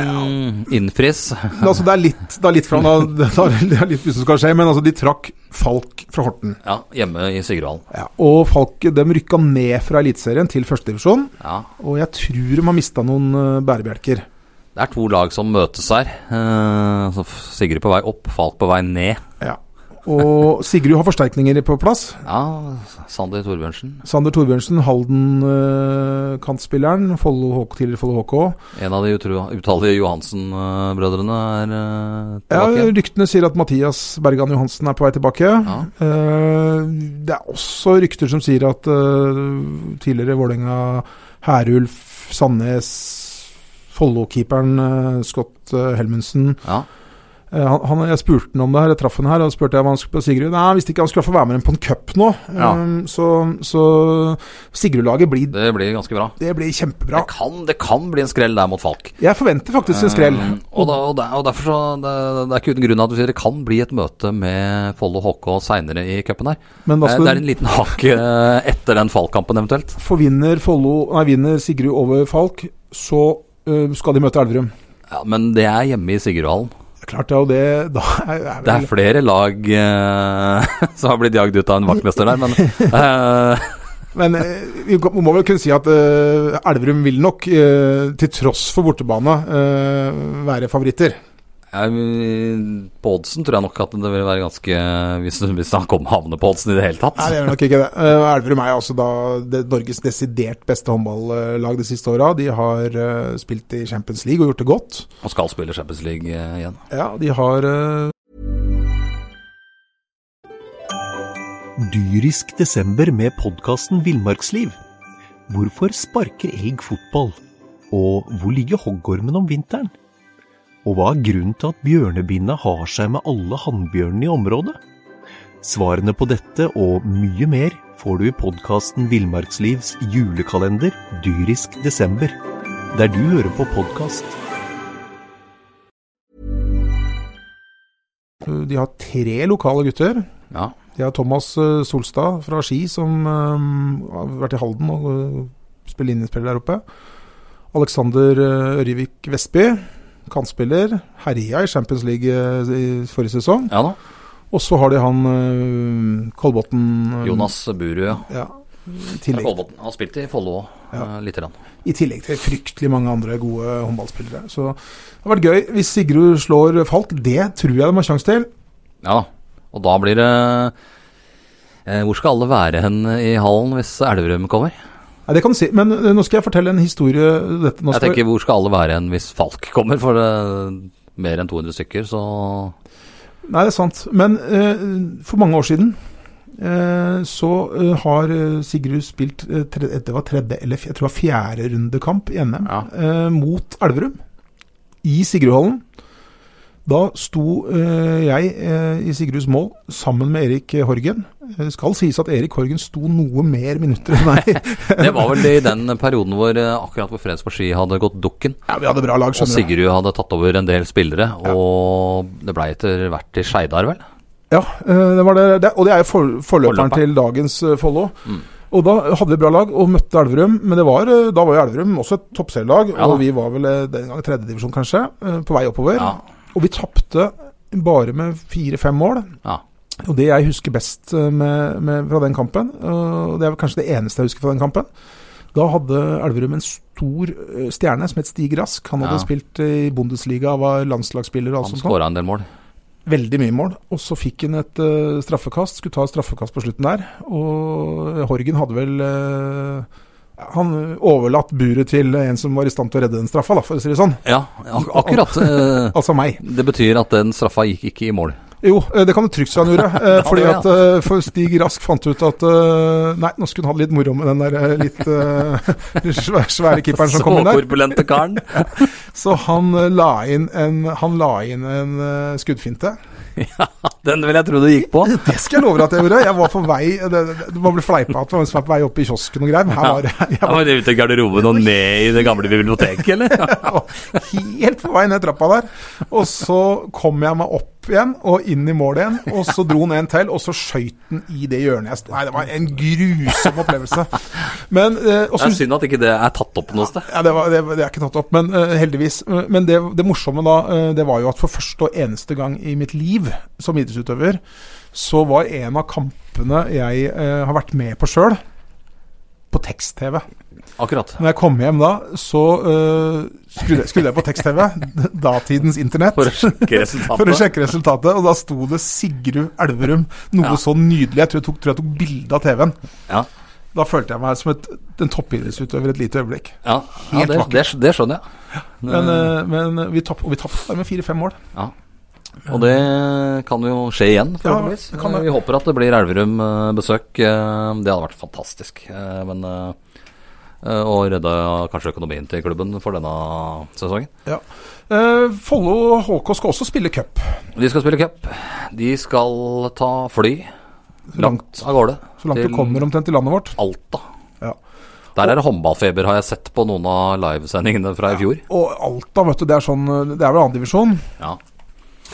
innfris. Det, er altså, det er litt, det er litt fram, da, det er det er litt mye som skal skje, men altså, de trakk Falk fra Horten. Ja, hjemme i Sigrudhallen. Ja, og Falk de rykka ned fra Eliteserien til førstedivisjon. Ja. Og jeg tror de har mista noen eh, bærebjelker. Det er to lag som møtes her. Eh, så Sigrud på vei opp, Falk på vei ned. Ja. Og Sigrud har forsterkninger på plass. Ja, Sander Torbjørnsen. Sander Torbjørnsen, Halden-kantspilleren, Follo HK, tidligere Follo HK. En av de utro- utallige Johansen-brødrene er eh, Ja, tilbake. igjen. ryktene sier at Mathias Bergan Johansen er på vei tilbake. Ja. Eh, det er også rykter som sier at eh, tidligere Vålerenga, Herulf, Sandnes, Follo-keeperen eh, Scott eh, Helmundsen Ja. Eh, Han, han, jeg spurte han om det her, jeg traff han her og spurte jeg om han skulle på Sigrud. Nei, han visste ikke han skulle få være med dem på en cup nå. Ja. Um, så så Sigrud-laget blir Det blir ganske bra. Det blir Det kjempebra. kan, det kan bli en skrell der mot Falk. Jeg forventer faktisk en skrell. Eh, og, da, og, der, og derfor så det, det er ikke uten grunn at du sier det kan bli et møte med Follo HK seinere i cupen her. Men Eh, da skal det er en liten hake eh, etter den Falk-kampen eventuelt. for vinner, Follo, nei, vinner Sigrud over Falk, så eh, skal de møte Elverum. Ja, men det er hjemme i Sigrudhallen. Det er Klart det er jo det da er, er Det vel, er flere lag eh, som har blitt jagd ut av en vaktmester der, men eh, Men eh, vi kan- vi må vel kunne si at eh, Elverum vil nok, eh, til tross for bortebane, eh, være favoritter. Ja, men På oddsen tror jeg nok at det vil være ganske Hvis, hvis han kommer havne på oddsen i det hele tatt. Nei, det er nok ikke det. Eh, Elverum er jo altså da det Norges desidert beste håndballag de siste åra. De har eh, spilt i Champions League og gjort det godt. Og skal spille Champions League eh, igjen. Ja, de har eh, Dyrisk desember med podkasten Villmarksliv. Hvorfor sparker elg fotball? Og hvor ligger hoggormen om vinteren? Og hva er grunnen til at bjørnebinna har seg med alle hannbjørnene i området? Svarene på dette og mye mer får du i podkasten Villmarkslivs julekalender dyrisk desember, der du hører på podkast. De har tre lokale gutter. Ja. De har Thomas eh, Solstad fra Ski, som eh, har vært i Halden og eh, spiller innespiller der oppe. Alexander eh, Ørjevik Vestby, kantspiller. Herja i Champions League eh, i forrige sesong. ja da. Og så har de han eh, Kolbotn eh, Jonas Burud, ja. Ja, i Fra tillegg, Kolbotn. Han spilte i Follo òg, Ja. lite grann. I tillegg til fryktelig mange andre gode håndballspillere. Så det har vært gøy. Hvis Sigrud slår Falk, det tror jeg de har sjanse til. Ja da. Og da blir det eh, Hvor skal alle være hen i hallen hvis Elverum kommer? Nei, det kan du si. Men eh, nå skal jeg fortelle en historie. Dette, nå Jeg skal tenker hvor skal alle være hen hvis Falk kommer? For eh, mer enn 200 stykker, så Nei, det er sant. Men eh, for mange år siden eh, så eh, har eh, Sigrud spilt eh, tre, Det var tredje eller fj- jeg tror det var fjerde rundekamp i NM Ja. eh, mot Elverum. I Sigrudhallen. Da sto eh, jeg eh, i Sigruds mål sammen med Erik Horgen. Det skal sies at Erik Horgen sto noe mer minutter enn meg. Det var vel i den perioden hvor eh, akkurat på Freds på Ski hadde gått dukken. ja, vi hadde bra lag, Og skjønner du. Sigrud hadde tatt over en del spillere, og det blei etter hvert til Skeidar, vel? Ja, eh, det var det, det, og det er jo for, forløperen Forløperen. til dagens eh, Follo. Mm. Og da hadde vi bra lag og møtte Elverum, men det var, eh, da var jo Elverum også et toppserielag. Ja da. og vi var vel eh, den gang tredjedivisjon, kanskje, eh, på vei oppover. Ja. Og vi tapte bare med fire-fem mål. Ja. Og det jeg husker best eh, med, med, fra den kampen, eh, og det er vel kanskje det eneste jeg husker fra den kampen Da hadde Elverum en stor eh, stjerne som het Stig Rask. Han hadde Ja. spilt eh, i Bundesliga, var landslagsspiller og alt Han sånt. noe. skåra en del mål. Veldig mye mål. Og så fikk han et eh, straffekast, skulle ta et straffekast på slutten der. Og Horgen hadde vel eh, Han overlatt buret til en som var i stand til å redde den straffa, da, for å si det sånn. Ja, ak akkurat. eh, Altså meg. Det betyr at den straffa gikk ikke i mål. Jo, eh, det kan du trygt si han gjorde. eh, fordi det, ja. at eh, for Stig Rask fant ut at eh, Nei, nå skulle han ha det litt moro med den der eh, litt eh, svære, svære keeperen som kom inn der. korpulente karen. Så han eh, la inn en, han la inn en eh, skuddfinte. Den vil jeg tro du gikk på. Det skal jeg love deg at jeg gjorde. Jeg var på vei Det, det, det var vel fleipa at man var på vei opp i kiosken og greier. men Her var jeg Han var ute i garderoben og ned i det gamle biblioteket, eller? var helt på vei ned trappa der. Og så kom jeg meg opp igjen og inn i mål igjen. Og så dro han en til, og så skøyt han i det hjørnet jeg sto Nei, det var en grusom opplevelse. Men eh, og Det så- er synd at ikke det er tatt opp noe sted. ja, det, var, det, det er ikke tatt opp, men eh, heldigvis. Eh, Men det, det morsomme da, eh, det var jo at for første og eneste gang i mitt liv som idrettsutøver, så var en av kampene jeg eh, har vært med på sjøl, på tekst-TV. Akkurat. Når jeg kom hjem da, så eh, skrudde, skrudde jeg på tekst-TV, datidens internett, For å sjekke for å resultatet. sjekke resultatet. Og da sto det Sigrud Elverum, noe Ja. så nydelig. Jeg tror jeg tok, tror jeg tok bilde av TV-en. Ja. Da følte jeg meg som et, en toppidrettsutøver et lite øyeblikk. Ja, ja Helt det, det, det skjønner jeg. Men, Eh, eh, men vi tapte, og vi tapte der med fire-fem mål. Eh, Og det kan jo skje igjen, forhåpentligvis. Eh, det kan det. Vi håper at det blir Elverum-besøk. Eh, Det hadde vært fantastisk. eh, Men eh, eh, og redda kanskje økonomien til klubben for denne sesongen. Eh, Follo HK skal også spille cup. De skal spille cup. De skal ta fly Så langt, langt av gårde. så langt det til- kommer omtrent i landet vårt. Alta. Ja. Der er det håndballfeber, har jeg sett på noen av livesendingene fra i fjor. Og Alta, vet du, det er sånn Det er vel andredivisjon. Ja,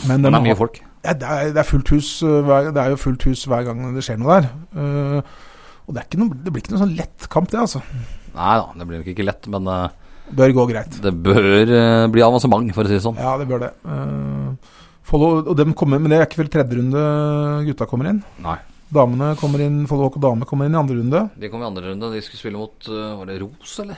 Men Det de er mye har- folk. Ja, det, er, det er fullt hus eh, hver, Det er jo fullt hus hver gang det skjer noe der. Eh, og det, er ikke noe, det blir ikke noen sånn lett kamp, det, altså. Nei da, det blir nok ikke lett, men eh, Bør gå greit. det bør eh, bli avansement, for å si det sånn. Ja, det bør det. Eh, Follo og dem kommer, men det er ikke vel tredje runde gutta kommer inn. Nei. Damene kommer inn, Follo HK dame kommer inn i andre runde. De kom i andre runde, de skulle spille mot eh, Var det Ros, eller?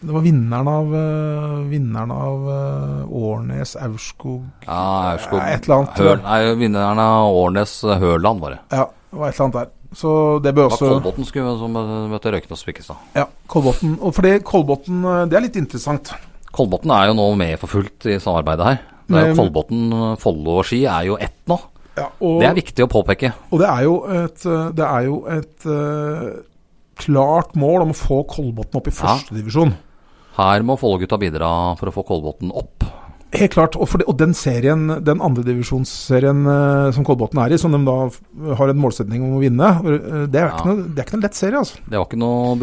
Det var vinneren av eh, Vinneren av eh, Årnes, Aurskog Ja, Aurskog. Ja, et eller annet. Høl, nei, vinneren av Årnes eh, Høland, var det. Ja, det var et eller annet der. Så det Det bør var også Kolbotn skulle som eh, møtte Røyknes Spikkestad. Ja, Kolbotn. Og fordi Kolbotn, eh, det er litt interessant. Kolbotn er jo nå med for fullt i samarbeidet her. Det er jo Men- Kolbotn, eh, Follo og Ski er jo ett nå. Ja, og, Det er viktig å påpeke. og det er jo et, eh, det er jo et eh, klart mål om å få Kolbotn opp i Ja. førstedivisjon. Her må Follo-gutta bidra for å få Kolbotn opp. Helt klart. Og, for det, og den serien, den andredivisjonsserien eh, som Kolbotn er i, som de da f- har en målsetning om å vinne, eh, det er, Ja. ikke, noe, det er ikke noe lett serie, altså. Det var ikke noe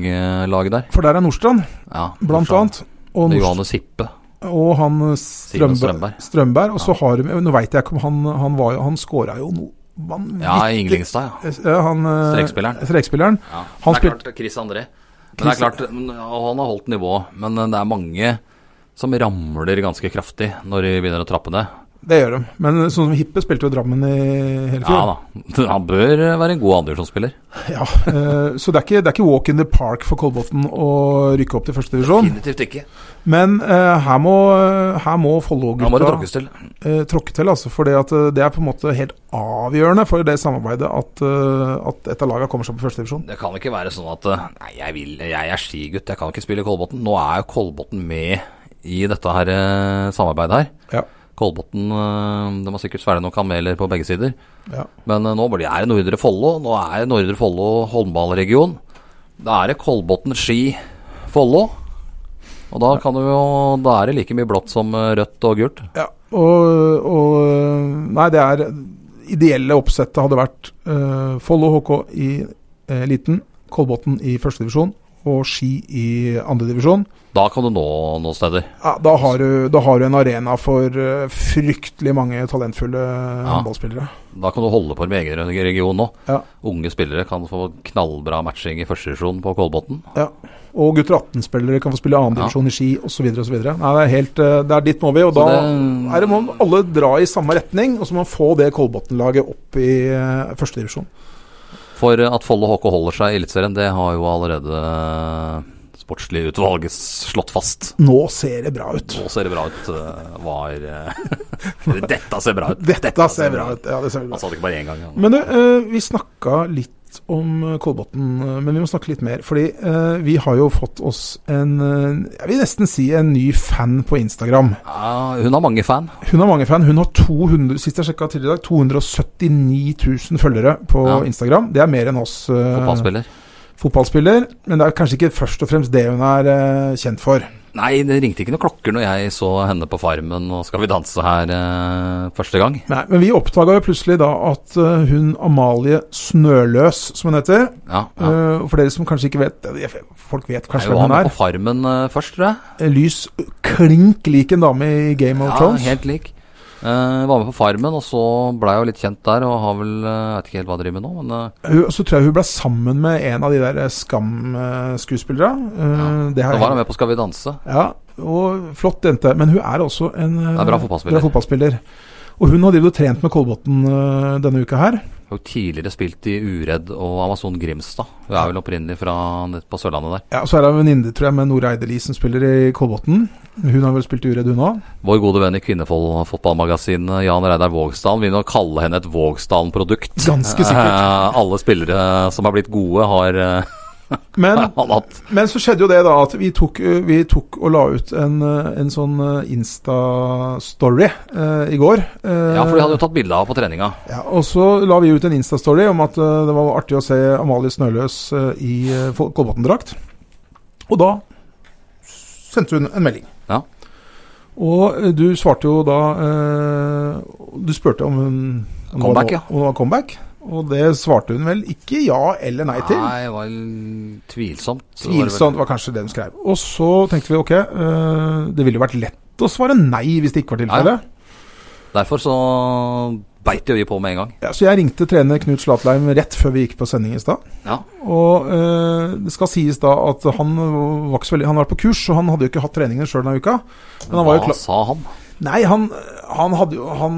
buljonglag der. For der er Nordstrand, Ja, blant Norsan. annet. Og, Det er Nordstrand, Johannes Hippe. og han eh, Simen Strømberg. Strømberg. Strømberg og så har de Nå veit jeg ikke om han, han var jo Han skåra jo noe vanvittig Ja, Inglingstad, ja. Ja, han, eh, Strekspilleren. strekspilleren. ja. Han det er klart Chris André. Men det er Chris- klart, mm, og han har holdt nivået. Men eh, det er mange som ramler ganske kraftig når de begynner å trappe ned. Det gjør de. Men eh, sånn som Hippe spilte jo Drammen i hele Ja fjor. da. Han bør eh, være en god andredivisjonsspiller. Ja, eh, så det er, ikke, det er ikke walk in the park for Kolbotn å rykke opp til første divisjon. Definitivt ikke. Men eh, her må, her må Follo-gutta Han må det tråkkes til. eh, tråkke til. Altså, for det, at, eh, det er på en måte helt avgjørende for det samarbeidet at, eh, at et av lagene kommer seg på første divisjon. Det kan ikke være sånn at eh, Nei, jeg, vil, jeg er skigutt, jeg kan ikke spille i Kolbotn. Nå er jo Kolbotn med i dette her eh, samarbeidet her. Ja. Kolbotn eh, De har sikkert svelget noen kameler på begge sider. Ja. Men eh, nå blir- er det Nordre Follo. Nå er det Nordre Follo håndballregion. Da er det Kolbotn, Ski, Follo. Og da, kan du jo, da er det like mye blått som eh, rødt og gult. Ja, og, og Nei, det er Ideelle oppsettet hadde vært eh, Follo HK i eliten, Kolbotn i første divisjon og Ski i andre divisjon. Da kan du nå noen steder. Ja, da, har du, da har du en arena for eh, fryktelig mange talentfulle håndballspillere. Da kan du holde på med egen region nå. Ja. Unge spillere kan få knallbra matching i første divisjon på Kolbotn. Og gutter 18-spillere kan få spille i Ja. andre divisjon i Ski osv. osv. Nei, det er helt eh, Det er dit må vi, og da det- er det må alle dra i samme retning, og så må man få det Kolbotn-laget opp i eh, første divisjon. For at Follo HK holder seg i Eliteserien, det har jo allerede sportslig utvalget slått fast. Nå ser det bra ut. Nå ser det bra ut, eh, var eh, Dette ser bra ut. Dette ser bra ut. Ja, det ser Han bra ut. sa det ikke bare én gang. han. Men du, eh, vi snakka litt om eh, Kolbotn, eh, men vi må snakke litt mer. Fordi eh, vi har jo fått oss en eh, Jeg vil nesten si en ny fan på Instagram. Ja, hun har mange fan. Hun har mange fan. Hun har 200, sist jeg sjekket tidligere i dag, 279 000 følgere på Ja. Instagram. Det er mer enn oss eh, Fotballspiller. fotballspiller. Men det er kanskje ikke først og fremst det hun er eh, kjent for. Nei, det ringte ikke noen klokker når jeg så henne på Farmen og Skal vi danse her eh, første gang. Nei, men vi oppdaga jo plutselig da at eh, hun Amalie Snøløs, som hun heter, Ja, ja. Eh, og for dere som kanskje ikke vet eh, Folk vet Jeg kanskje var hvem hun med er. på Farmen eh, først, tror jeg. Eh, Lys klink lik en dame i Game of Ja, Thrones. helt lik. Eh, var med på Farmen, og så blei jeg jo litt kjent der, og har vel eh, Jeg vet ikke helt hva jeg driver med nå, men eh, Hun, så tror jeg hun ble sammen med en av de der Skam-skuespillerne. Ja. Det da her var han med på Skal vi danse. Ja, og flott jente. Men hun er også en eh, Det er bra fotballspiller. bra fotballspiller. Og hun har drevet og trent med Kolbotn eh, denne uka her. Har jo tidligere spilt i Uredd og Amazon Grimstad. Hun er vel opprinnelig fra nett på Sørlandet der. Ja, og Så er det en venninne, tror jeg, med Nora Eideli som spiller i Kolbotn. Hun har vel spilt i Uredd, hun òg. Vår gode venn i Kvinnefotballmagasinet, Jan Reidar Vågsdalen, vil nå kalle henne et Vågsdalen-produkt. Ganske sikkert. Eh, alle spillere som har blitt gode, har eh, Men han hatt. Men så skjedde jo det da at vi tok, eh, vi tok og la ut en, eh, en sånn eh, Insta-story eh, i går. Eh, Ja, for de hadde jo tatt bilde av på treninga. ja, og så la vi ut en Insta-story om at eh, det var artig å se Amalie Snøløs eh, i eh, fo- Kolbotn-drakt. Og da sendte hun en melding. Ja. Og eh, du svarte jo da eh, Du spurte om hun om det var Comeback, no- ja. Om det var comeback. Og det svarte hun vel ikke ja eller nei til. Nei, det var vel tvilsomt. Det var vel- Tvilsomt var kanskje det hun skrev. Og så tenkte vi ok, eh, det ville jo vært lett å svare nei hvis det ikke var tilfellet. Derfor så beit jo vi på med en gang. Ja, så jeg ringte trener Knut Slatleim rett før vi gikk på sending i stad. Ja. Og eh, det skal sies da at han var ikke så veldig Han var på kurs, og han hadde jo ikke hatt treningene sjøl denne uka. Men han var jo Hva klar sa han? Nei, han, han hadde jo Han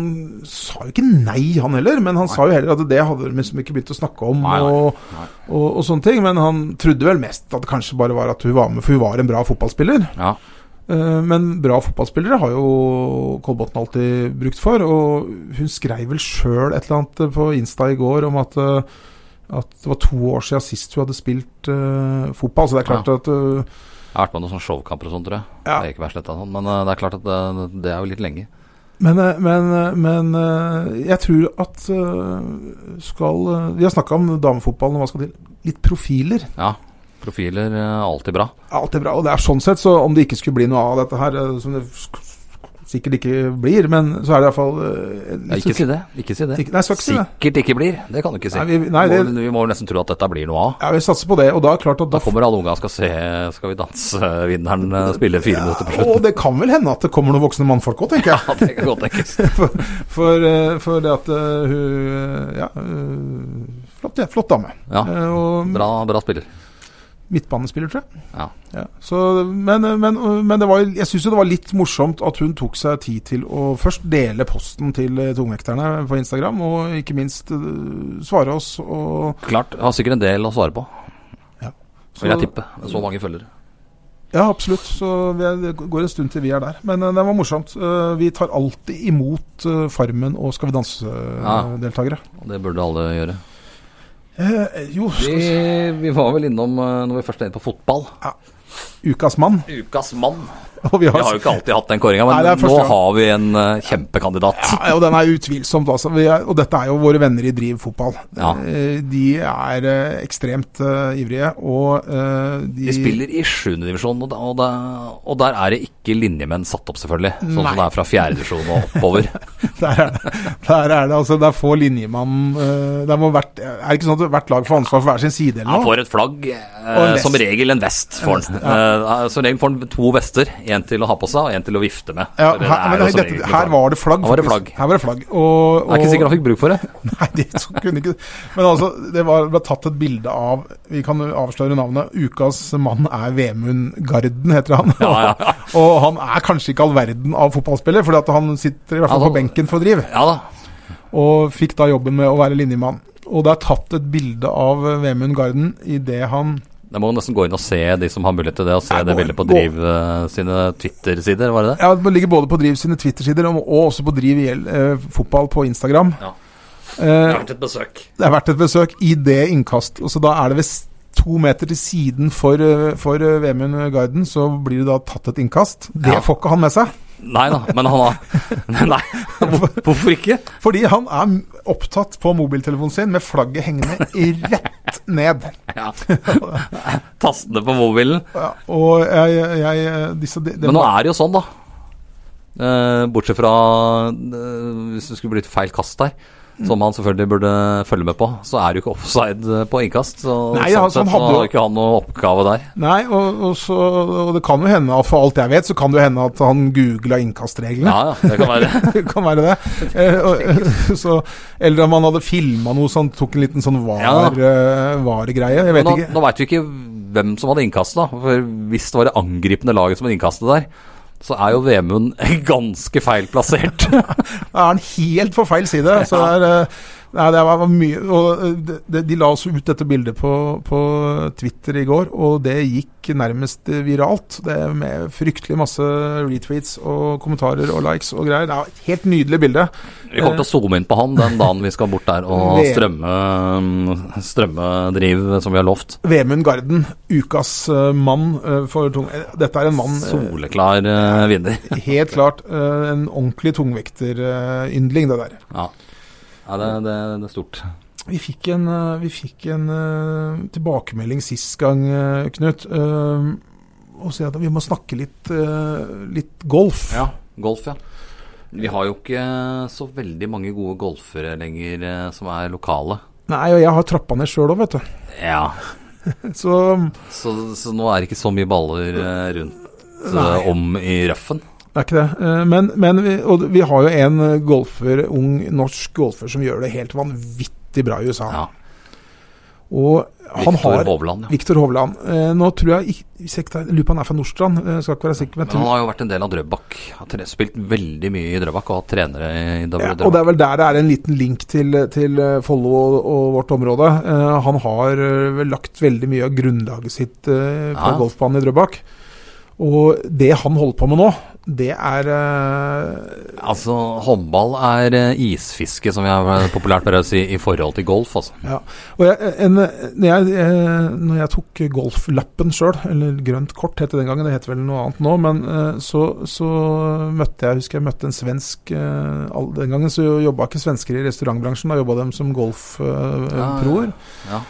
sa jo ikke nei, han heller. Men han sa jo heller at det hadde de liksom ikke begynt å snakke om Nei, nei, og, nei. Og, og sånne ting. Men han trodde vel mest at det kanskje bare var at hun var med, for hun var en bra fotballspiller. Ja. Eh, Men bra fotballspillere har jo Kolbotn alltid brukt for. Og hun skrev vel sjøl et eller annet på Insta i går om at, eh, at det var to år siden sist hun hadde spilt eh, fotball. Så det er klart at eh, Jeg har vært med i noen sånne showkamper og sånn, tror jeg. Ja. Det er ikke verst dette, sånn, men eh, det er klart at det, det er jo litt lenge. men, eh, men, eh, men eh, jeg tror at eh, skal eh, Vi har snakka om damefotballen og hva skal til. Litt profiler. Ja. Profiler eh, alltid bra. Alt er bra. Og det er sånn sett, så om det ikke skulle bli noe av dette her, eh, som det sk- sikkert ikke blir, men så er det iallfall Nei, ikke si det. Ikke si det. Ikke- nei, jeg skal ikke si det. Sikkert ikke blir. Det kan du ikke si. Nei, vi- nei, Vi må- det- Vi må vel nesten tro at dette blir noe av. Ja, vi satser på det. Og da er det klart at Da da kommer alle unga og skal se Skal vi danse-vinneren eh, spille fire minutter på Og slutten. det kan vel hende at det kommer noen voksne mannfolk òg, tenker jeg. Ja, det kan godt tenkes. For, for, eh, for det at eh, hun eh, Ja, eh, flott, ja, flott dame. Ja, Eh, og bra, bra spiller. midtbanespiller, tror jeg. Ja. Så, men eh, men, men det var, jeg syns jo det var litt morsomt at hun tok seg tid til å først dele posten til eh, tungvekterne på Instagram, og ikke minst eh, svare oss. Og, Klart. Har sikkert en del å svare på, så, vil jeg tippe. Med så mange følgere. Ja, absolutt. Så vi er, det går en stund til vi er der. Men eh, det var morsomt. Eh, vi tar alltid imot eh, Farmen og Skal vi eh, Ja. danse-deltakere. Og det burde alle gjøre. Eh, jo, Vi, skal vi se. vi var vel innom, eh, når vi først er inne på fotball, Ukas mann. ukas mann. Og vi Vi har, har jo ikke alltid hatt den kåringa, men Nei, det er nå første gang. har vi en eh, kjempekandidat. Ja, og den er utvilsomt, altså. Vi er, og dette er jo våre venner i Driv fotball. Ja. Eh, De er eh, ekstremt eh, ivrige, og eh, de De spiller i 7. divisjon, og, da- og, da- og der er det ikke linjemenn satt opp, selvfølgelig. Sånn Nei. som det er fra 4. divisjon og oppover. der, er, der er det altså Det er få linjemann eh, det må hvert, Er det ikke sånn at hvert lag får ansvar for hver sin side, Han eller noe? får et flagg, Og en eh, vest. som regel en vest får han. Eh, som regel får han to vester. En til å ha på seg, og en til å vifte med. Ja, For det her, er men jo som dette, regel her flagg. var det Her flagg. var det faktisk. flagg. Her var det flagg. Og, og, Det er ikke sikkert han fikk bruk for det. Nei, det så kunne ikke Men altså, det var, ble tatt et bilde av Vi kan avsløre navnet. Ukas mann er Vemund Garden, heter han. Ja, ja. og han er kanskje ikke all verden av fotballspiller, fordi at han sitter i hvert fall Ja, da- på benken for å drive. Ja da. Og fikk da jobben med å være linjemann. Og det er tatt et bilde av Vemund Garden idet han Da må man nesten gå inn og se de som har mulighet til det, og se Nei, det gå- bildet på gå. Driv eh, sine Twitter-sider, var det det? Ja, det ligger både på Driv sine Twitter-sider og og også på Driv IL, eh, fotball på Instagram. Ja. Eh, et besøk. Det er verdt et besøk i det innkast. Og så da er det ved s- to meter til siden for, eh, for eh, Vemund Garden, så blir det da tatt et innkast. Det Ja. får ikke han med seg. Nei da, men han har Nei, hvorfor ikke? Fordi han er m- opptatt på mobiltelefonen sin med flagget hengende i rett ned. Ja. Tastene på mobilen. Ja, Og jeg, jeg jeg- disse, det, det Men nå var- er det jo sånn, da. Eh, bortsett fra eh, hvis det skulle blitt feil kast der, som han selvfølgelig burde følge med på, så er det jo ikke offside eh, på innkast. Så Nei, sånn altså, sett så han hadde jo- har ikke han noe oppgave der. Nei, og, og, så, og det kan jo hende, at for alt jeg vet, så kan det jo hende at han googla innkastreglene. Ja, ja, det kan være Det kan være det. Eh, og, så, eller om han hadde filma noe, så han tok en liten sånn var, Ja. eh, varegreie. Jeg vet Nå, ikke. nå veit vi ikke hvem som hadde innkastet, da. For hvis det var det angripende laget som hadde innkastet der, så er jo Vemund ganske feil plassert. Da er han helt på feil side. Så det er, eh, nei, det var var mye og eh, det- det- De la også ut dette bildet på, på Twitter i går, og det gikk nærmest eh, viralt. Det Med fryktelig masse retweets og kommentarer og likes og greier. Det er et helt nydelig bilde. Vi kommer til å zoome inn på han den dagen vi skal bort der og Ve- strømme, strømme driv som vi har lovt. Vemund Garden, ukas eh, mann eh, for tung... eh, Dette er en mann eh, Soleklar eh, vinner. Helt klart eh, en ordentlig tungvekteryndling, det der. Ja, ja det, det, det er stort. Vi fikk en, eh, vi fikk en eh, tilbakemelding sist gang, eh, Knut. eh, og si at vi må snakke litt, eh, litt golf. Ja, golf, ja. Vi har jo ikke så veldig mange gode golfere lenger eh, som er lokale. Nei, og jeg har trappa ned sjøl òg, vet du. Ja, Så så, så nå er det ikke så mye baller eh, rundt eh, Nei. om i røffen. det er ikke det. Eh, men men vi, og vi har jo en eh, golfer, ung norsk golfer som gjør det helt vanvittig bra i USA. Ja. Og han Viktor har Hovland, ja. Viktor Hovland. Eh, nå tror jeg ikke- hvis jeg ikke tar- Lurer på om han er fra Nordstrand, eh, skal ikke være sikker. Men jeg Men han tror, har jo vært en del av Drøbak. Har tre- spilt veldig mye i Drøbak og hatt trenere i Ja, Drøbak. og det er vel der det er en liten link til, til eh, Follo og, og vårt område. Eh, han har eh, vel lagt veldig mye av grunnlaget sitt eh, på Ja. golfbanen i Drøbak. Og det han holder på med nå, det er eh, Altså, håndball er eh, isfiske, som jeg eh, populært pleier å si, i forhold til golf, altså. ja. Og jeg, en, når, jeg, eh, når jeg tok golflappen sjøl, eller grønt kort het det den gangen, det heter vel noe annet nå, men eh, så, så møtte jeg husker jeg møtte en svensk eh, all- Den eh, Ah, gangen så jobba ikke svensker i restaurantbransjen, da jobba de som golfproer. Ja, ja, ja.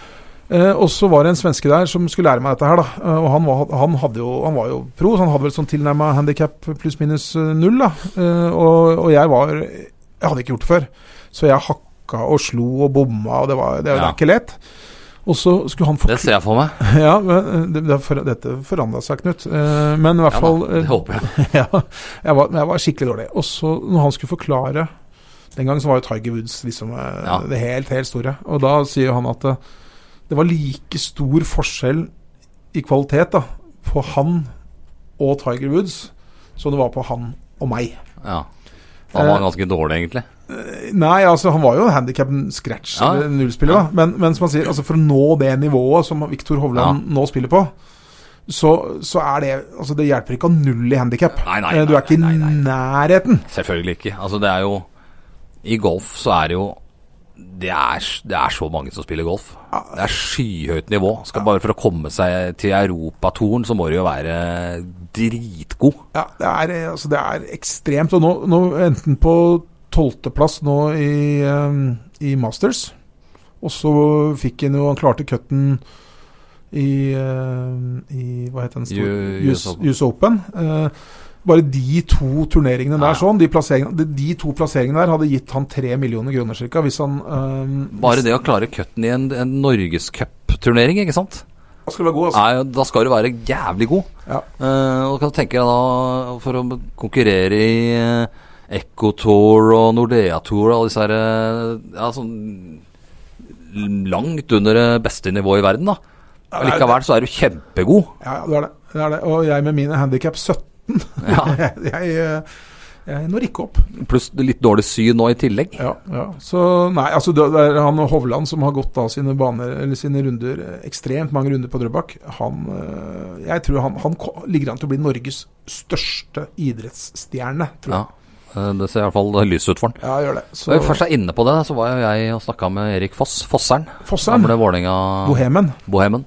Eh, og så var det en svenske der som skulle lære meg dette her, da. Eh, og han var, han, hadde jo, han var jo pro, så han hadde vel sånn tilnærma handikap pluss minus eh, null, da. Eh, og, og jeg var Jeg hadde ikke gjort det før. Så jeg hakka og slo og bomma, og det var, det, det Ja. er ikke lett. Og så skulle han Det forklare ser jeg for meg. ja, men, eh, det, det, for, Dette forandra seg, Knut. Eh, men i Ja, hvert da, fall eh, det håper jeg. ja, jeg var, jeg var skikkelig dårlig. Og så når han skulle forklare Den gangen så var jo Tiger Woods liksom eh, Ja. det helt, helt store. Og da sier han at eh, det var like stor forskjell i kvalitet da på han og Tiger Woods som det var på han og meg. Ja. Da var han ganske dårlig, egentlig. Eh, Nei, altså han var jo handikap scratch, Ja. eller nullspiller, da. Men, men som han sier, altså for å nå det nivået som Viktor Hovland nå spiller på, så, så er det Altså, det hjelper ikke å ha null i handikap. Nei, nei, Du er nei, ikke nei, nei, i nærheten. Selvfølgelig ikke. Altså, det er jo I golf så er det jo det er, det er så mange som spiller golf. Det er skyhøyt nivå. Skal bare for å komme seg til europatoren, så må du jo være dritgod. Ja, det er, altså, det er ekstremt. Og nå, nå endte han på tolvteplass nå i, eh, i Masters. Og så fikk han jo Han klarte cutten i, eh, i Hva het den? store- U- US US Open. US Open. Eh, bare de to Ja, turneringene ja. der sånn, de, plasseringene- de, de to plasseringene der hadde gitt han tre millioner kroner cirka, hvis han eh, Bare det å klare cutten i en, en norgescupturnering, ikke sant? hvis- skulle være god, altså. er, jo- da skal du være jævlig god. Ja. Eh, og kan du tenke deg da, for å konkurrere i uh, Ecotour og Nordea Tour og alle disse her eh, ja, sånn langt under det beste nivået i verden, da. det er- Likevel så er du kjempegod. Ja, ja, det er det. det er det. Og jeg med mine handikap 17, Ja, jeg, jeg, eh, jeg når ikke opp. pluss litt dårlig syn nå i tillegg. Ja, ja. Så nei, altså det det er han Hovland som har gått av sine baner, eller sine runder, eh, ekstremt mange runder på Drøbak. Han, eh, jeg tror han, han ko- ligger an til å bli Norges største idrettsstjerne, tror jeg. Ja, eh, det ser i hvert fall lyst ut for han. Ja, jeg gjør det. Så, Når vi først er inne på det, så var jo jeg og snakka med Erik Foss, Fosseren. Fossheim, Gamle Vålerenga Bohemen. Bohemen.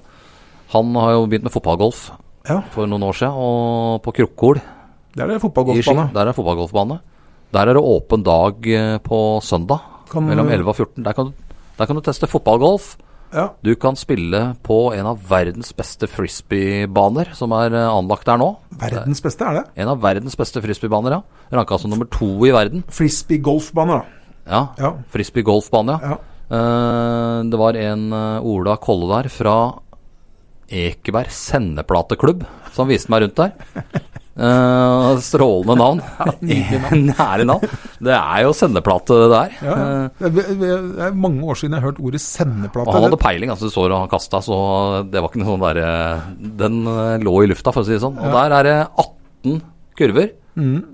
Han har jo begynt med fotballgolf Ja. for noen år siden, og på Krokkol Det er det i Ski. fotballgolfbane. Der er det fotballgolfbane. Der er det åpen dag eh, på søndag Kan- mellom 11 og 14. Der kan, du, der kan du teste fotballgolf. Ja. Du kan spille på en av verdens beste frisbeebaner som er eh, anlagt der nå. Verdens beste er det. En av verdens beste frisbeebaner, ja. Ranka som nummer to i verden. Frisbee-golfbane, da. Ja, Ja. frisbee-golfbane, ja. Ja. Eh, det var en eh, Ola Kolle der fra Ekeberg sendeplateklubb som viste meg rundt der. Eh, strålende navn. Nære navn. Det er jo sendeplate, det der. Ja, ja. Eh, Det er- Det er mange år siden jeg har hørt ordet sendeplate. og han hadde peiling, altså du så det han kasta, så det var ikke noe sånn derre Den eh, lå i lufta, for å si det sånn. Og der er det 18 kurver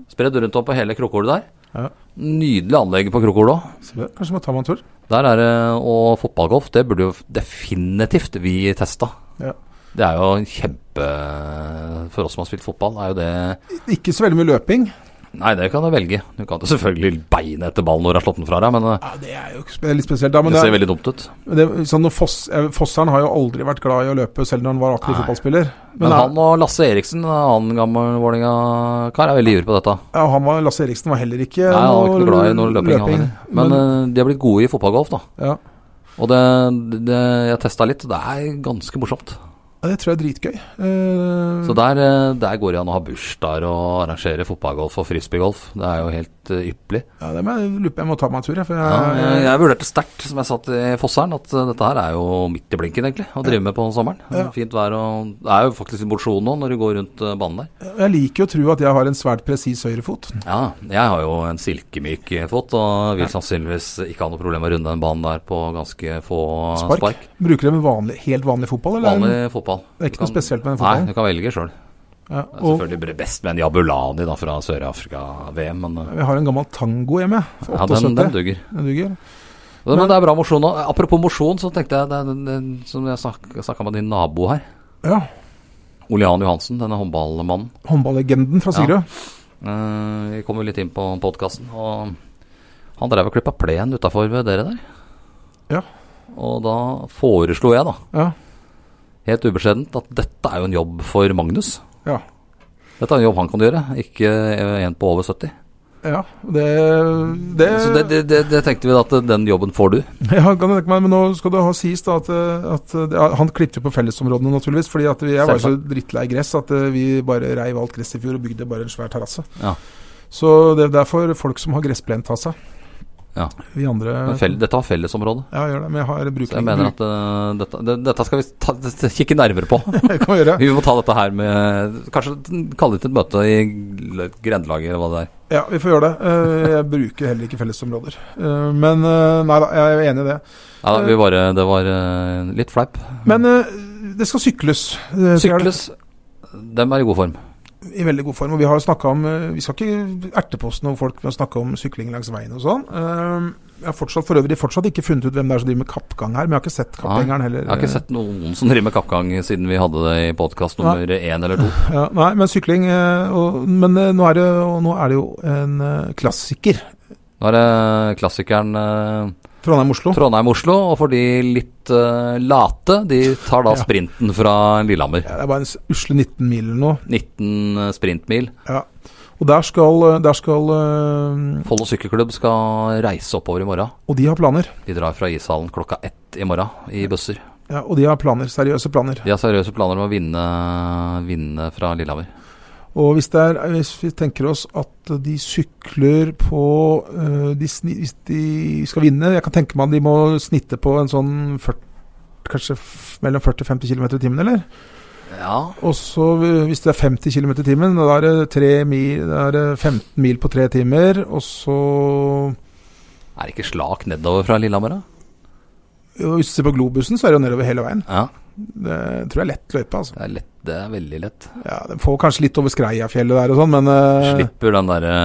spredd rundt om på hele krokkolet der. Mm. Ja. Nydelig anlegg på krokkolet òg. Så det- Kanskje må ta meg en tur. Der er det, og fotballgolf, det burde jo definitivt vi testa. Ja. Det er jo en kjempe For oss som har spilt fotball, er jo det Ikke så veldig mye løping. Nei, det kan du velge. Du kan jo selvfølgelig beine etter ballen når du har slått den fra deg, men eh, Ja, Det er jo ikke spe- litt spesielt. Da, men det det er- ser veldig dumt ut. Men Det, sånn, når Foss, eh, Fosseren har jo aldri vært glad i å løpe, selv når han var aktiv Nei. fotballspiller. Men, Men han, han og Lasse Eriksen, en annen gammel Vålerenga-kar, er veldig ivrig på dette. ja, han var, Lasse Eriksen var heller ikke Nei, han var ikke noe glad i noe løping. han heller. men, men, eh, de har blitt gode i fotballgolf, da. ja. Og det, det jeg testa litt, det er ganske morsomt. Ja, det tror jeg er dritgøy. Eh, Så der, eh, der går det an å ha bursdager og arrangere fotballgolf og frisbeegolf. Det er jo helt eh, ypperlig. ja, det må jeg lurer på, jeg må ta meg en tur, jeg. For jeg, Ja, jeg, jeg vurderte sterkt, som jeg sa til Fosseren, at eh, dette her er jo midt i blinken, egentlig, å drive med på sommeren. Ja. Fint vær og Det er jo faktisk litt mosjon nå, når du går rundt eh, banen der. jeg, liker jo å tro at jeg har en svært presis høyrefot. Ja, jeg har jo en silkemyk eh, fot, og vil sannsynligvis ikke ha noe problem med å runde den banen der på ganske få eh, Spark. spark. Bruker du en vanlig, helt vanlig fotball, eller? Vanlig fotball. Det er Du ikke noe kan- spesielt med den Nei, fotballen. du kan velge sjøl. Ja, og Selvfølgelig blir det best med en Jabulani da fra Sør-Afrika-VM, men eh, jeg har en gammel tango hjemme. ja, den, 78. den duger. Den duger. Men, men det er bra mosjon. nå. Apropos mosjon, så tenkte jeg det, det, det, Som jeg snakka med din nabo her, Ja. Olean Johansen, denne håndballmannen. Håndballegenden fra Sigrud. Eh, vi kom jo litt inn på podkasten, og han drev og klippa plen utafor ved dere der. Ja. Og da foreslo jeg, da, Ja. helt ubeskjedent, at dette er jo en jobb for Magnus. ja. Dette er en jobb han kan gjøre, ikke eh, en på over 70. Ja, det, det, Så det, det, det, det tenkte vi da at den jobben får du. Ja, kan jeg tenke meg, men nå skal det ha sies da at, eh, at det, han klippte på fellesområdene naturligvis, fordi at vi, jeg var jo så drittlei gress at eh, vi bare reiv alt gress i fjor og bygde bare en svær terrasse. Ja. Så det, det er for folk som har gressplen ta seg. Ja. Vi andre... Men fell, dette har fellesområde. Ja, gjør det, men jeg har bruker Så jeg mener at eh, dette, det, dette skal vi ta, dette kikke nærmere på. Det kan vi gjøre. Vi må ta dette her med Kanskje kalle det til et møte i l- grendelaget eller hva det er. Ja, vi får gjøre det. Eh, Jeg bruker heller ikke fellesområder. Eh, Men eh, nei da, jeg er enig i det. Nei da, vi bare Det var eh, litt fleip. Men eh, det skal sykles. Eh, Det skal Sykles, dem er i god form. I veldig god form. Og vi har jo snakket om eh, Vi skal ikke erte på oss noen folk med å snakke om sykling langs veien og sånn. Eh, Jeg har fortsatt, for øvrig fortsatt ikke funnet ut hvem det er som driver med kappgang her, men jeg har ikke sett kappgjengeren heller. eh, Jeg har ikke sett noen som driver med kappgang siden vi hadde det i podkast nummer én eller to. Ja, nei, men sykling eh, og, Men eh, nå er, det, og nå er det jo en eh, klassiker. Nå er det klassikeren eh, Trondheim-Oslo. Trondheim-Oslo, og for de litt eh, late, de tar da Ja. sprinten fra Lillehammer. Ja, det er bare en s- usle 19 mil eller noe. 19 sprintmil. Ja. Og der skal, eh, der skal eh, Follo sykkelklubb skal reise oppover i morgen. Og de har planer. De drar fra ishallen klokka ett i morgen i busser. Ja, og de har planer, seriøse planer. De har seriøse planer om å vinne, vinne fra Lillehammer. Og hvis, det er, hvis vi tenker oss at de sykler på øh, de, sni- Hvis de skal vinne Jeg kan tenke meg at de må snitte på en sånn 40, kanskje f- mellom 40 og 50 km i timen, eller? Ja, Og så øh, hvis det er 50 km i timen, da er det, tre mil, da er det 15 mil på tre timer. Og så Er det ikke slak nedover fra Lillehammer, da? jo, Hvis du ser på globusen, så er det jo nedover hele veien. Ja, Det tror jeg er lett løype, altså. det er, lett, det er veldig lett. Ja, den får kanskje litt over Skreiafjellet der og sånn, men øh, Slipper den derre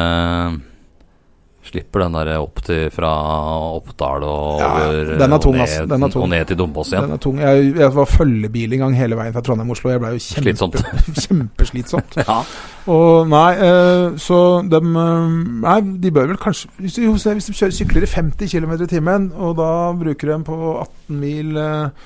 Slipper den derre opp til fra Oppdal og Ja, over den er tung, og, ned, ass. Den er tung. og ned til Dombås Den igjen. er tung. Jeg, jeg var følgebil en gang hele veien fra Trondheim til Oslo. Jeg ble jo kjempe, Slitsomt. kjempeslitsomt. Ja. Og nei, eh, så dem eh, Nei, de bør vel kanskje Hvis, jo, se, hvis de kjører, sykler i 50 km i timen, og da bruker de på 18 mil eh,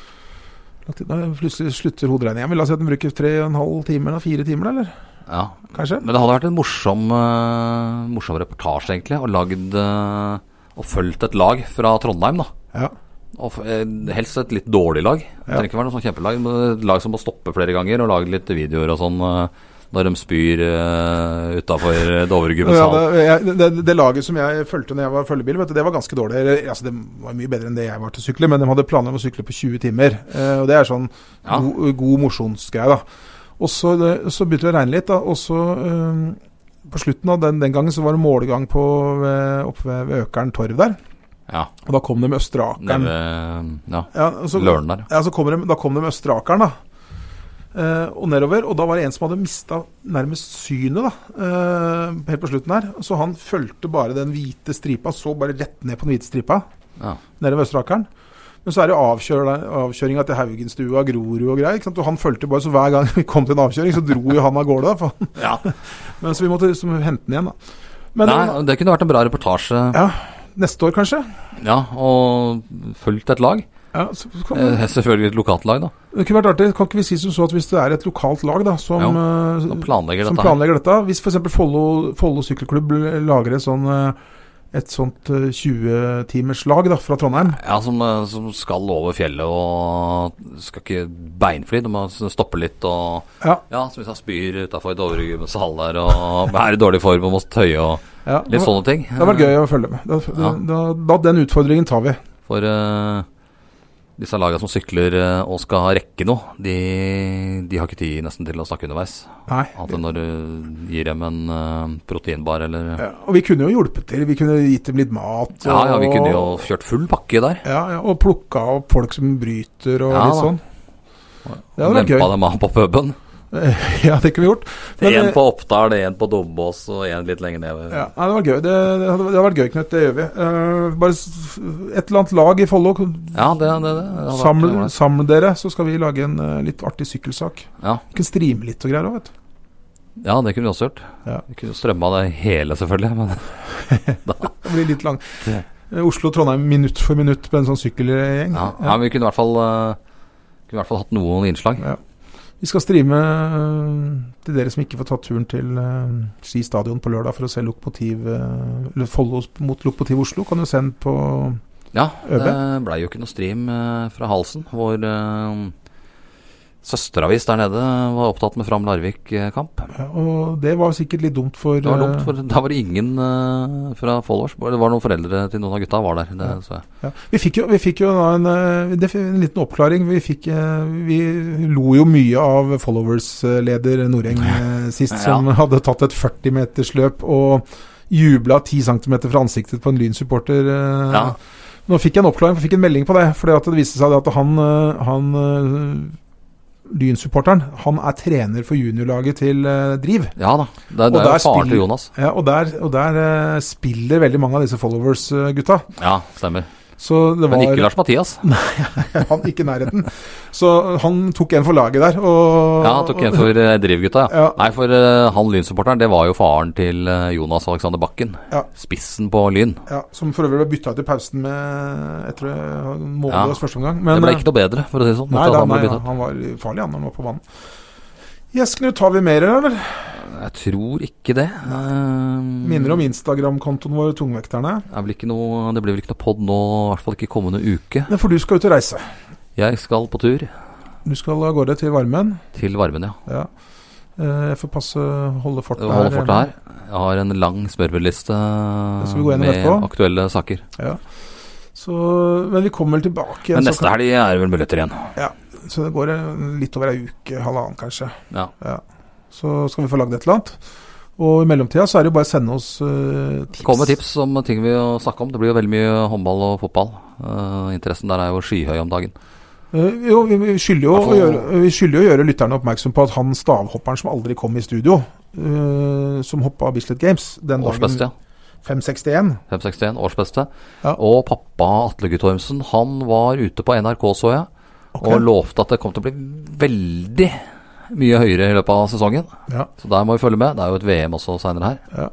da plutselig slutter hoderegningen. Men la oss si at de bruker 3,5 timer, da, 4 timer, da, eller? ja. Kanskje? Men det hadde vært en morsom, eh, morsom reportasje, egentlig, og lagd eh, og fulgt et lag fra Trondheim, da. Ja. Og f- eh, helst et litt dårlig lag. Det Ja. trenger ikke være noe sånn kjempelag, men et lag som må stoppe flere ganger og lage litt videoer og sånn eh, når de spyr uh, utafor Dovregubbens Ja, hall. det, jeg, det, det laget som jeg fulgte når jeg var følgebil, vet du, det var ganske dårlig. Eller, Altså, det var mye bedre enn det jeg var til å sykle, men de hadde planer om å sykle på 20 timer. Eh, og Det er sånn Ja. god, god mosjonsgreie, da. Og så, det- så begynte det å regne litt, da. Og så eh, på slutten av den, den gangen så var det målgang på, ved, oppe ved, ved Økeren torv der. Ja, Og da kom de med Østre nede Akeren. ved ja, Ja, og så- Løren der. ja, så kom de, da kom de med Østre Akeren, da. Eh, og nedover. Og da var det en som hadde mista nærmest synet, da. eh, helt på slutten her. Så han fulgte bare den hvite stripa, så bare rett ned på den hvite stripa ja. nedover Østre Akeren. Men så er det avkjør- avkjøringa til Haugenstua, Grorud og greier. ikke sant? Og han fulgte bare, så hver gang vi kom til en avkjøring, så dro jo han av gårde. da, For han, ja. men så vi måtte liksom hente den igjen, da. Men det var- Nei, altså- det kunne vært en bra reportasje. Ja, ja, neste år kanskje? og fulgt et lag. Ja, så kan vi- Eh, Selvfølgelig et lokalt lag, da. Det kunne vært artig, kan ikke vi si som så at hvis det er et lokalt lag da, som, Jo, eh, Som planlegger som dette her. planlegger dette Hvis f.eks. Follo Follo sykkelklubb lager et sånn eh, et sånt 20-timers lag da, fra Trondheim Ja, som, eh, som skal over fjellet og skal ikke beinfly. De må s- stoppe litt og Ja. ja som vi sa, spyr utafor Dovregubbens hall der og er i dårlig form og må tøye og ja, litt det var- sånne ting. Det hadde vært gøy å følge med. Da, Ja. da, da, Den utfordringen tar vi. For eh, disse lagene som sykler eh, og skal rekke noe, de, de har ikke tid nesten til å snakke underveis. Nei. Annet enn når du gir dem en eh, proteinbar eller ja. Ja, og vi kunne jo hjulpet til. Vi kunne gitt dem litt mat. ja, og- vi kunne jo kjørt full pakke der. ja, ja, Og plukka opp folk som bryter og Ja, da. litt sånn. Det hadde vært Lempa gøy. dem av på puben. Ja, det kunne vi gjort. Men, Én eh, på Oppdal, én på Dombås og én litt lenger ned. Ja, nei, det var gøy. Det, det, hadde, det hadde vært gøy, Knut. Det gjør vi. Eh, bare s- et eller annet lag i Follo. Ja, det, det, det, Eh, det hadde Saml, vært- saml dere, så skal vi lage en eh, litt artig sykkelsak. ja. Vi kan streame litt og greier òg, vet du. ja, det kunne vi også gjort. Ja. Vi kunne jo strømma det hele, selvfølgelig. Men Det blir litt lang. Det- Eh, Oslo-Trondheim minutt for Mm, minutt på en sånn sykkelgjeng. ja, ja, men vi kunne i hvert fall eh, Kunne i hvert fall hatt noen innslag. Ja. Vi skal streame eh, til dere som ikke får tatt turen til eh, Ski stadion på lørdag for å se Lokomotiv eh, eller Follo mot Lokomotiv Oslo. Kan du se den på Ja, det Øbe? blei jo ikke noe stream eh, fra halsen. Hvor eh, søsteravis der nede var opptatt med Fram Larvik-kamp. Ja, Og det var sikkert litt dumt for, Det var dumt, eh, for da var det ingen eh, fra Followers. Det var noen foreldre til noen av gutta var der. Det, Ja. så jeg. Ja. Vi fikk jo, vi fikk jo da en, eh, det- en liten oppklaring. Vi, fikk, eh, vi lo jo mye av followers-leder Noreng eh, sist, Ja. som hadde tatt et 40-metersløp og jubla 10 cm fra ansiktet på en Lyn-supporter. eh. Ja. Nå fikk jeg en oppklaring, for jeg fikk en melding på det. For det viste seg at han, eh, han eh, Lyn-supporteren, han er trener for juniorlaget til eh, Driv. ja da. Det, Og det er jo der faren spiller- til Jonas. Ja, og der, og der eh, spiller veldig mange av disse followers-gutta. Ja, stemmer. Så det var Men ikke Lars Mathias. han ikke i nærheten. Så han tok en for laget der. Og, Ja, han tok en for eh, drivgutta, ja. Ja. Nei, for eh, han Lyn-supporteren, det var jo faren til eh, Jonas og Alexander Bakken. Ja. Spissen på Lyn. Ja, som for øvrig ble bytta ut i pausen med etter en måned Ja. og første omgang. Det Men, eh, ble ikke noe bedre, for å si det sånn. nei, etter at da, han ble nei, byttet. han, var farlig han, når han var på banen. Yes, Knut, har vi mer, eller? Jeg tror ikke det. Eh, Minner om Instagram-kontoen vår, Tungvekterne. Det, er vel ikke noe, det blir vel ikke noe pod nå, i hvert fall ikke kommende uke. Men for du skal ut og reise. Jeg skal på tur Du skal av gårde til varmen. til varmen, ja. Ja. Eh, Jeg får passe holde eh, fortet Holde fortet her. Jeg har en lang smørbrødliste skal vi gå gjennom med etterpå. aktuelle saker. Så, men vi kommer vel tilbake igjen. Men så, neste helg er det vel muligheter igjen. kan- så det går eh, litt over ei uke, halvannen kanskje. Ja. Så skal vi få lagd et eller annet. Og i mellomtida så er det jo bare å sende oss eh, tips. Kom med tips om ting vi å snakke om. Det blir jo veldig mye håndball og fotball. Eh, interessen der er jo skyhøy om dagen. Eh, jo, vi, vi, skylder jo Hvertfall- å gjøre, vi skylder jo å gjøre lytterne oppmerksom på at han stavhopperen som aldri kom i studio, eh, som hoppa Bislett Games den dagen Årsbeste, ja. 5.61 561, årsbeste. Ja. Og pappa Atle Guttormsen, han var ute på NRK, så jeg, Ok. og lovte at det kom til å bli veldig mye høyere i løpet av sesongen. ja. Så der må vi følge med. Det er jo et VM også seinere her.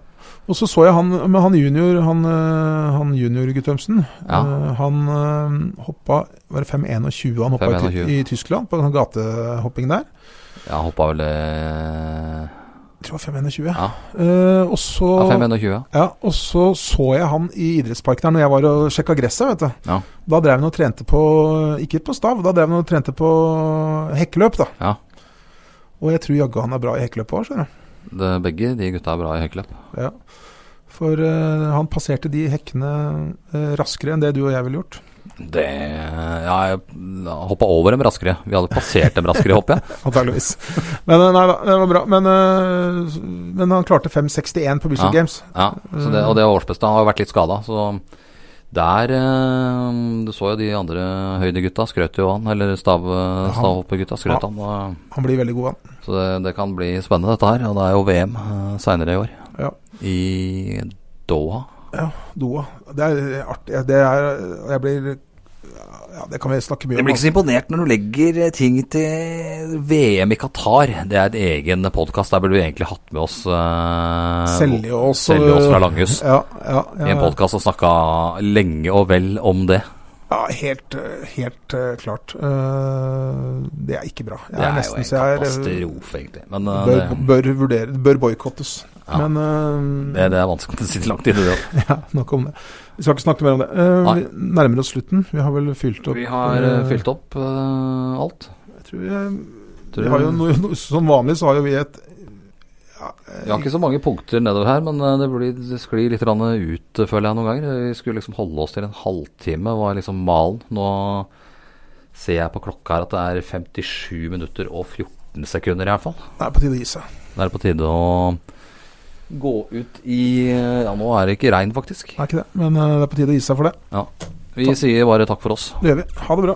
Og så så jeg han men han junior, han, eh, han junior Guttormsen. Ja. Eh, han eh, hoppa Var det 5.21 han hoppa i, 5.21. Ty- i Tyskland? På den gatehopping der? Jeg hoppa vel eh, Jeg tror det var 5.21. Ja. Eh, og så ja, 521. Ja, og så så jeg han i idrettsparken her når jeg var og sjekka gresset, vet du. Ja. Da drev han og trente på Ikke på stav, da drev han og trente på hekkeløp, da. Ja. Og jeg tror jaggu han er bra i hekkeløp òg, skjønner du. Det, begge de gutta er bra i høykeløp. Ja. For eh, han passerte de hekkene eh, raskere enn det du og jeg ville gjort. Det Ja, jeg hoppa over dem raskere. Vi hadde passert dem raskere, håper jeg. Antakeligvis. Men eh, nei da, det var bra. Men, eh, men han klarte 5,61 på Bislett Ja. Games. Ja, så det, og det årsbeste har jo vært litt skada, så der eh, Du så jo de andre høydegutta skrøt jo han, eller stav, stavhoppegutta skrøt han. Og, Han blir veldig god, han. så det, det kan bli spennende, dette her. Og det er jo VM eh, seinere i år. Ja. I Doha. Doa. Det er artig. Det er Jeg blir Ja, det kan vi snakke mye Jeg om. blir ikke så imponert når du legger eh, ting til VM i Qatar. Det er en egen podkast. Der burde vi egentlig hatt med oss uh, Selge oss og- Selje oss fra Langhus. Ja, ja, ja. I en podkast og snakka lenge og vel om det. Ja, helt, eh, helt eh, klart. Eh, Det er ikke bra. Jeg Det er er jo nesten en så jeg er, eh, katastrofe, egentlig. Men eh, bør, bør vurdere Bør boikottes. Ja. Men eh, det, det, det er vanskelig å sitte langt inne i det. ja, nok om det. Vi skal ikke snakke mer om det. Eh, Nei. Vi nærmer oss slutten. Vi har vel fylt opp Vi har eh, fylt opp eh, alt. Jeg tror vi, Tror vi du- har jo noe, noe, Som vanlig så har jo vi et ja, vi har ikke så mange punkter nedover her, men eh, det, blir, det sklir litt grann ut, eh, føler jeg noen ganger. Vi skulle liksom holde oss til en halvtime, var liksom malen. Nå ser jeg på klokka her at det er 57 minutter og 14 sekunder, i hvert fall. Det er på tide å gi seg. Da er det på tide å gå ut i eh, Ja, nå er det ikke regn, faktisk. Det er ikke det, men eh, det er på tide å gi seg for det. Ja. Vi sier bare takk for oss. Det gjør vi. Ha det bra.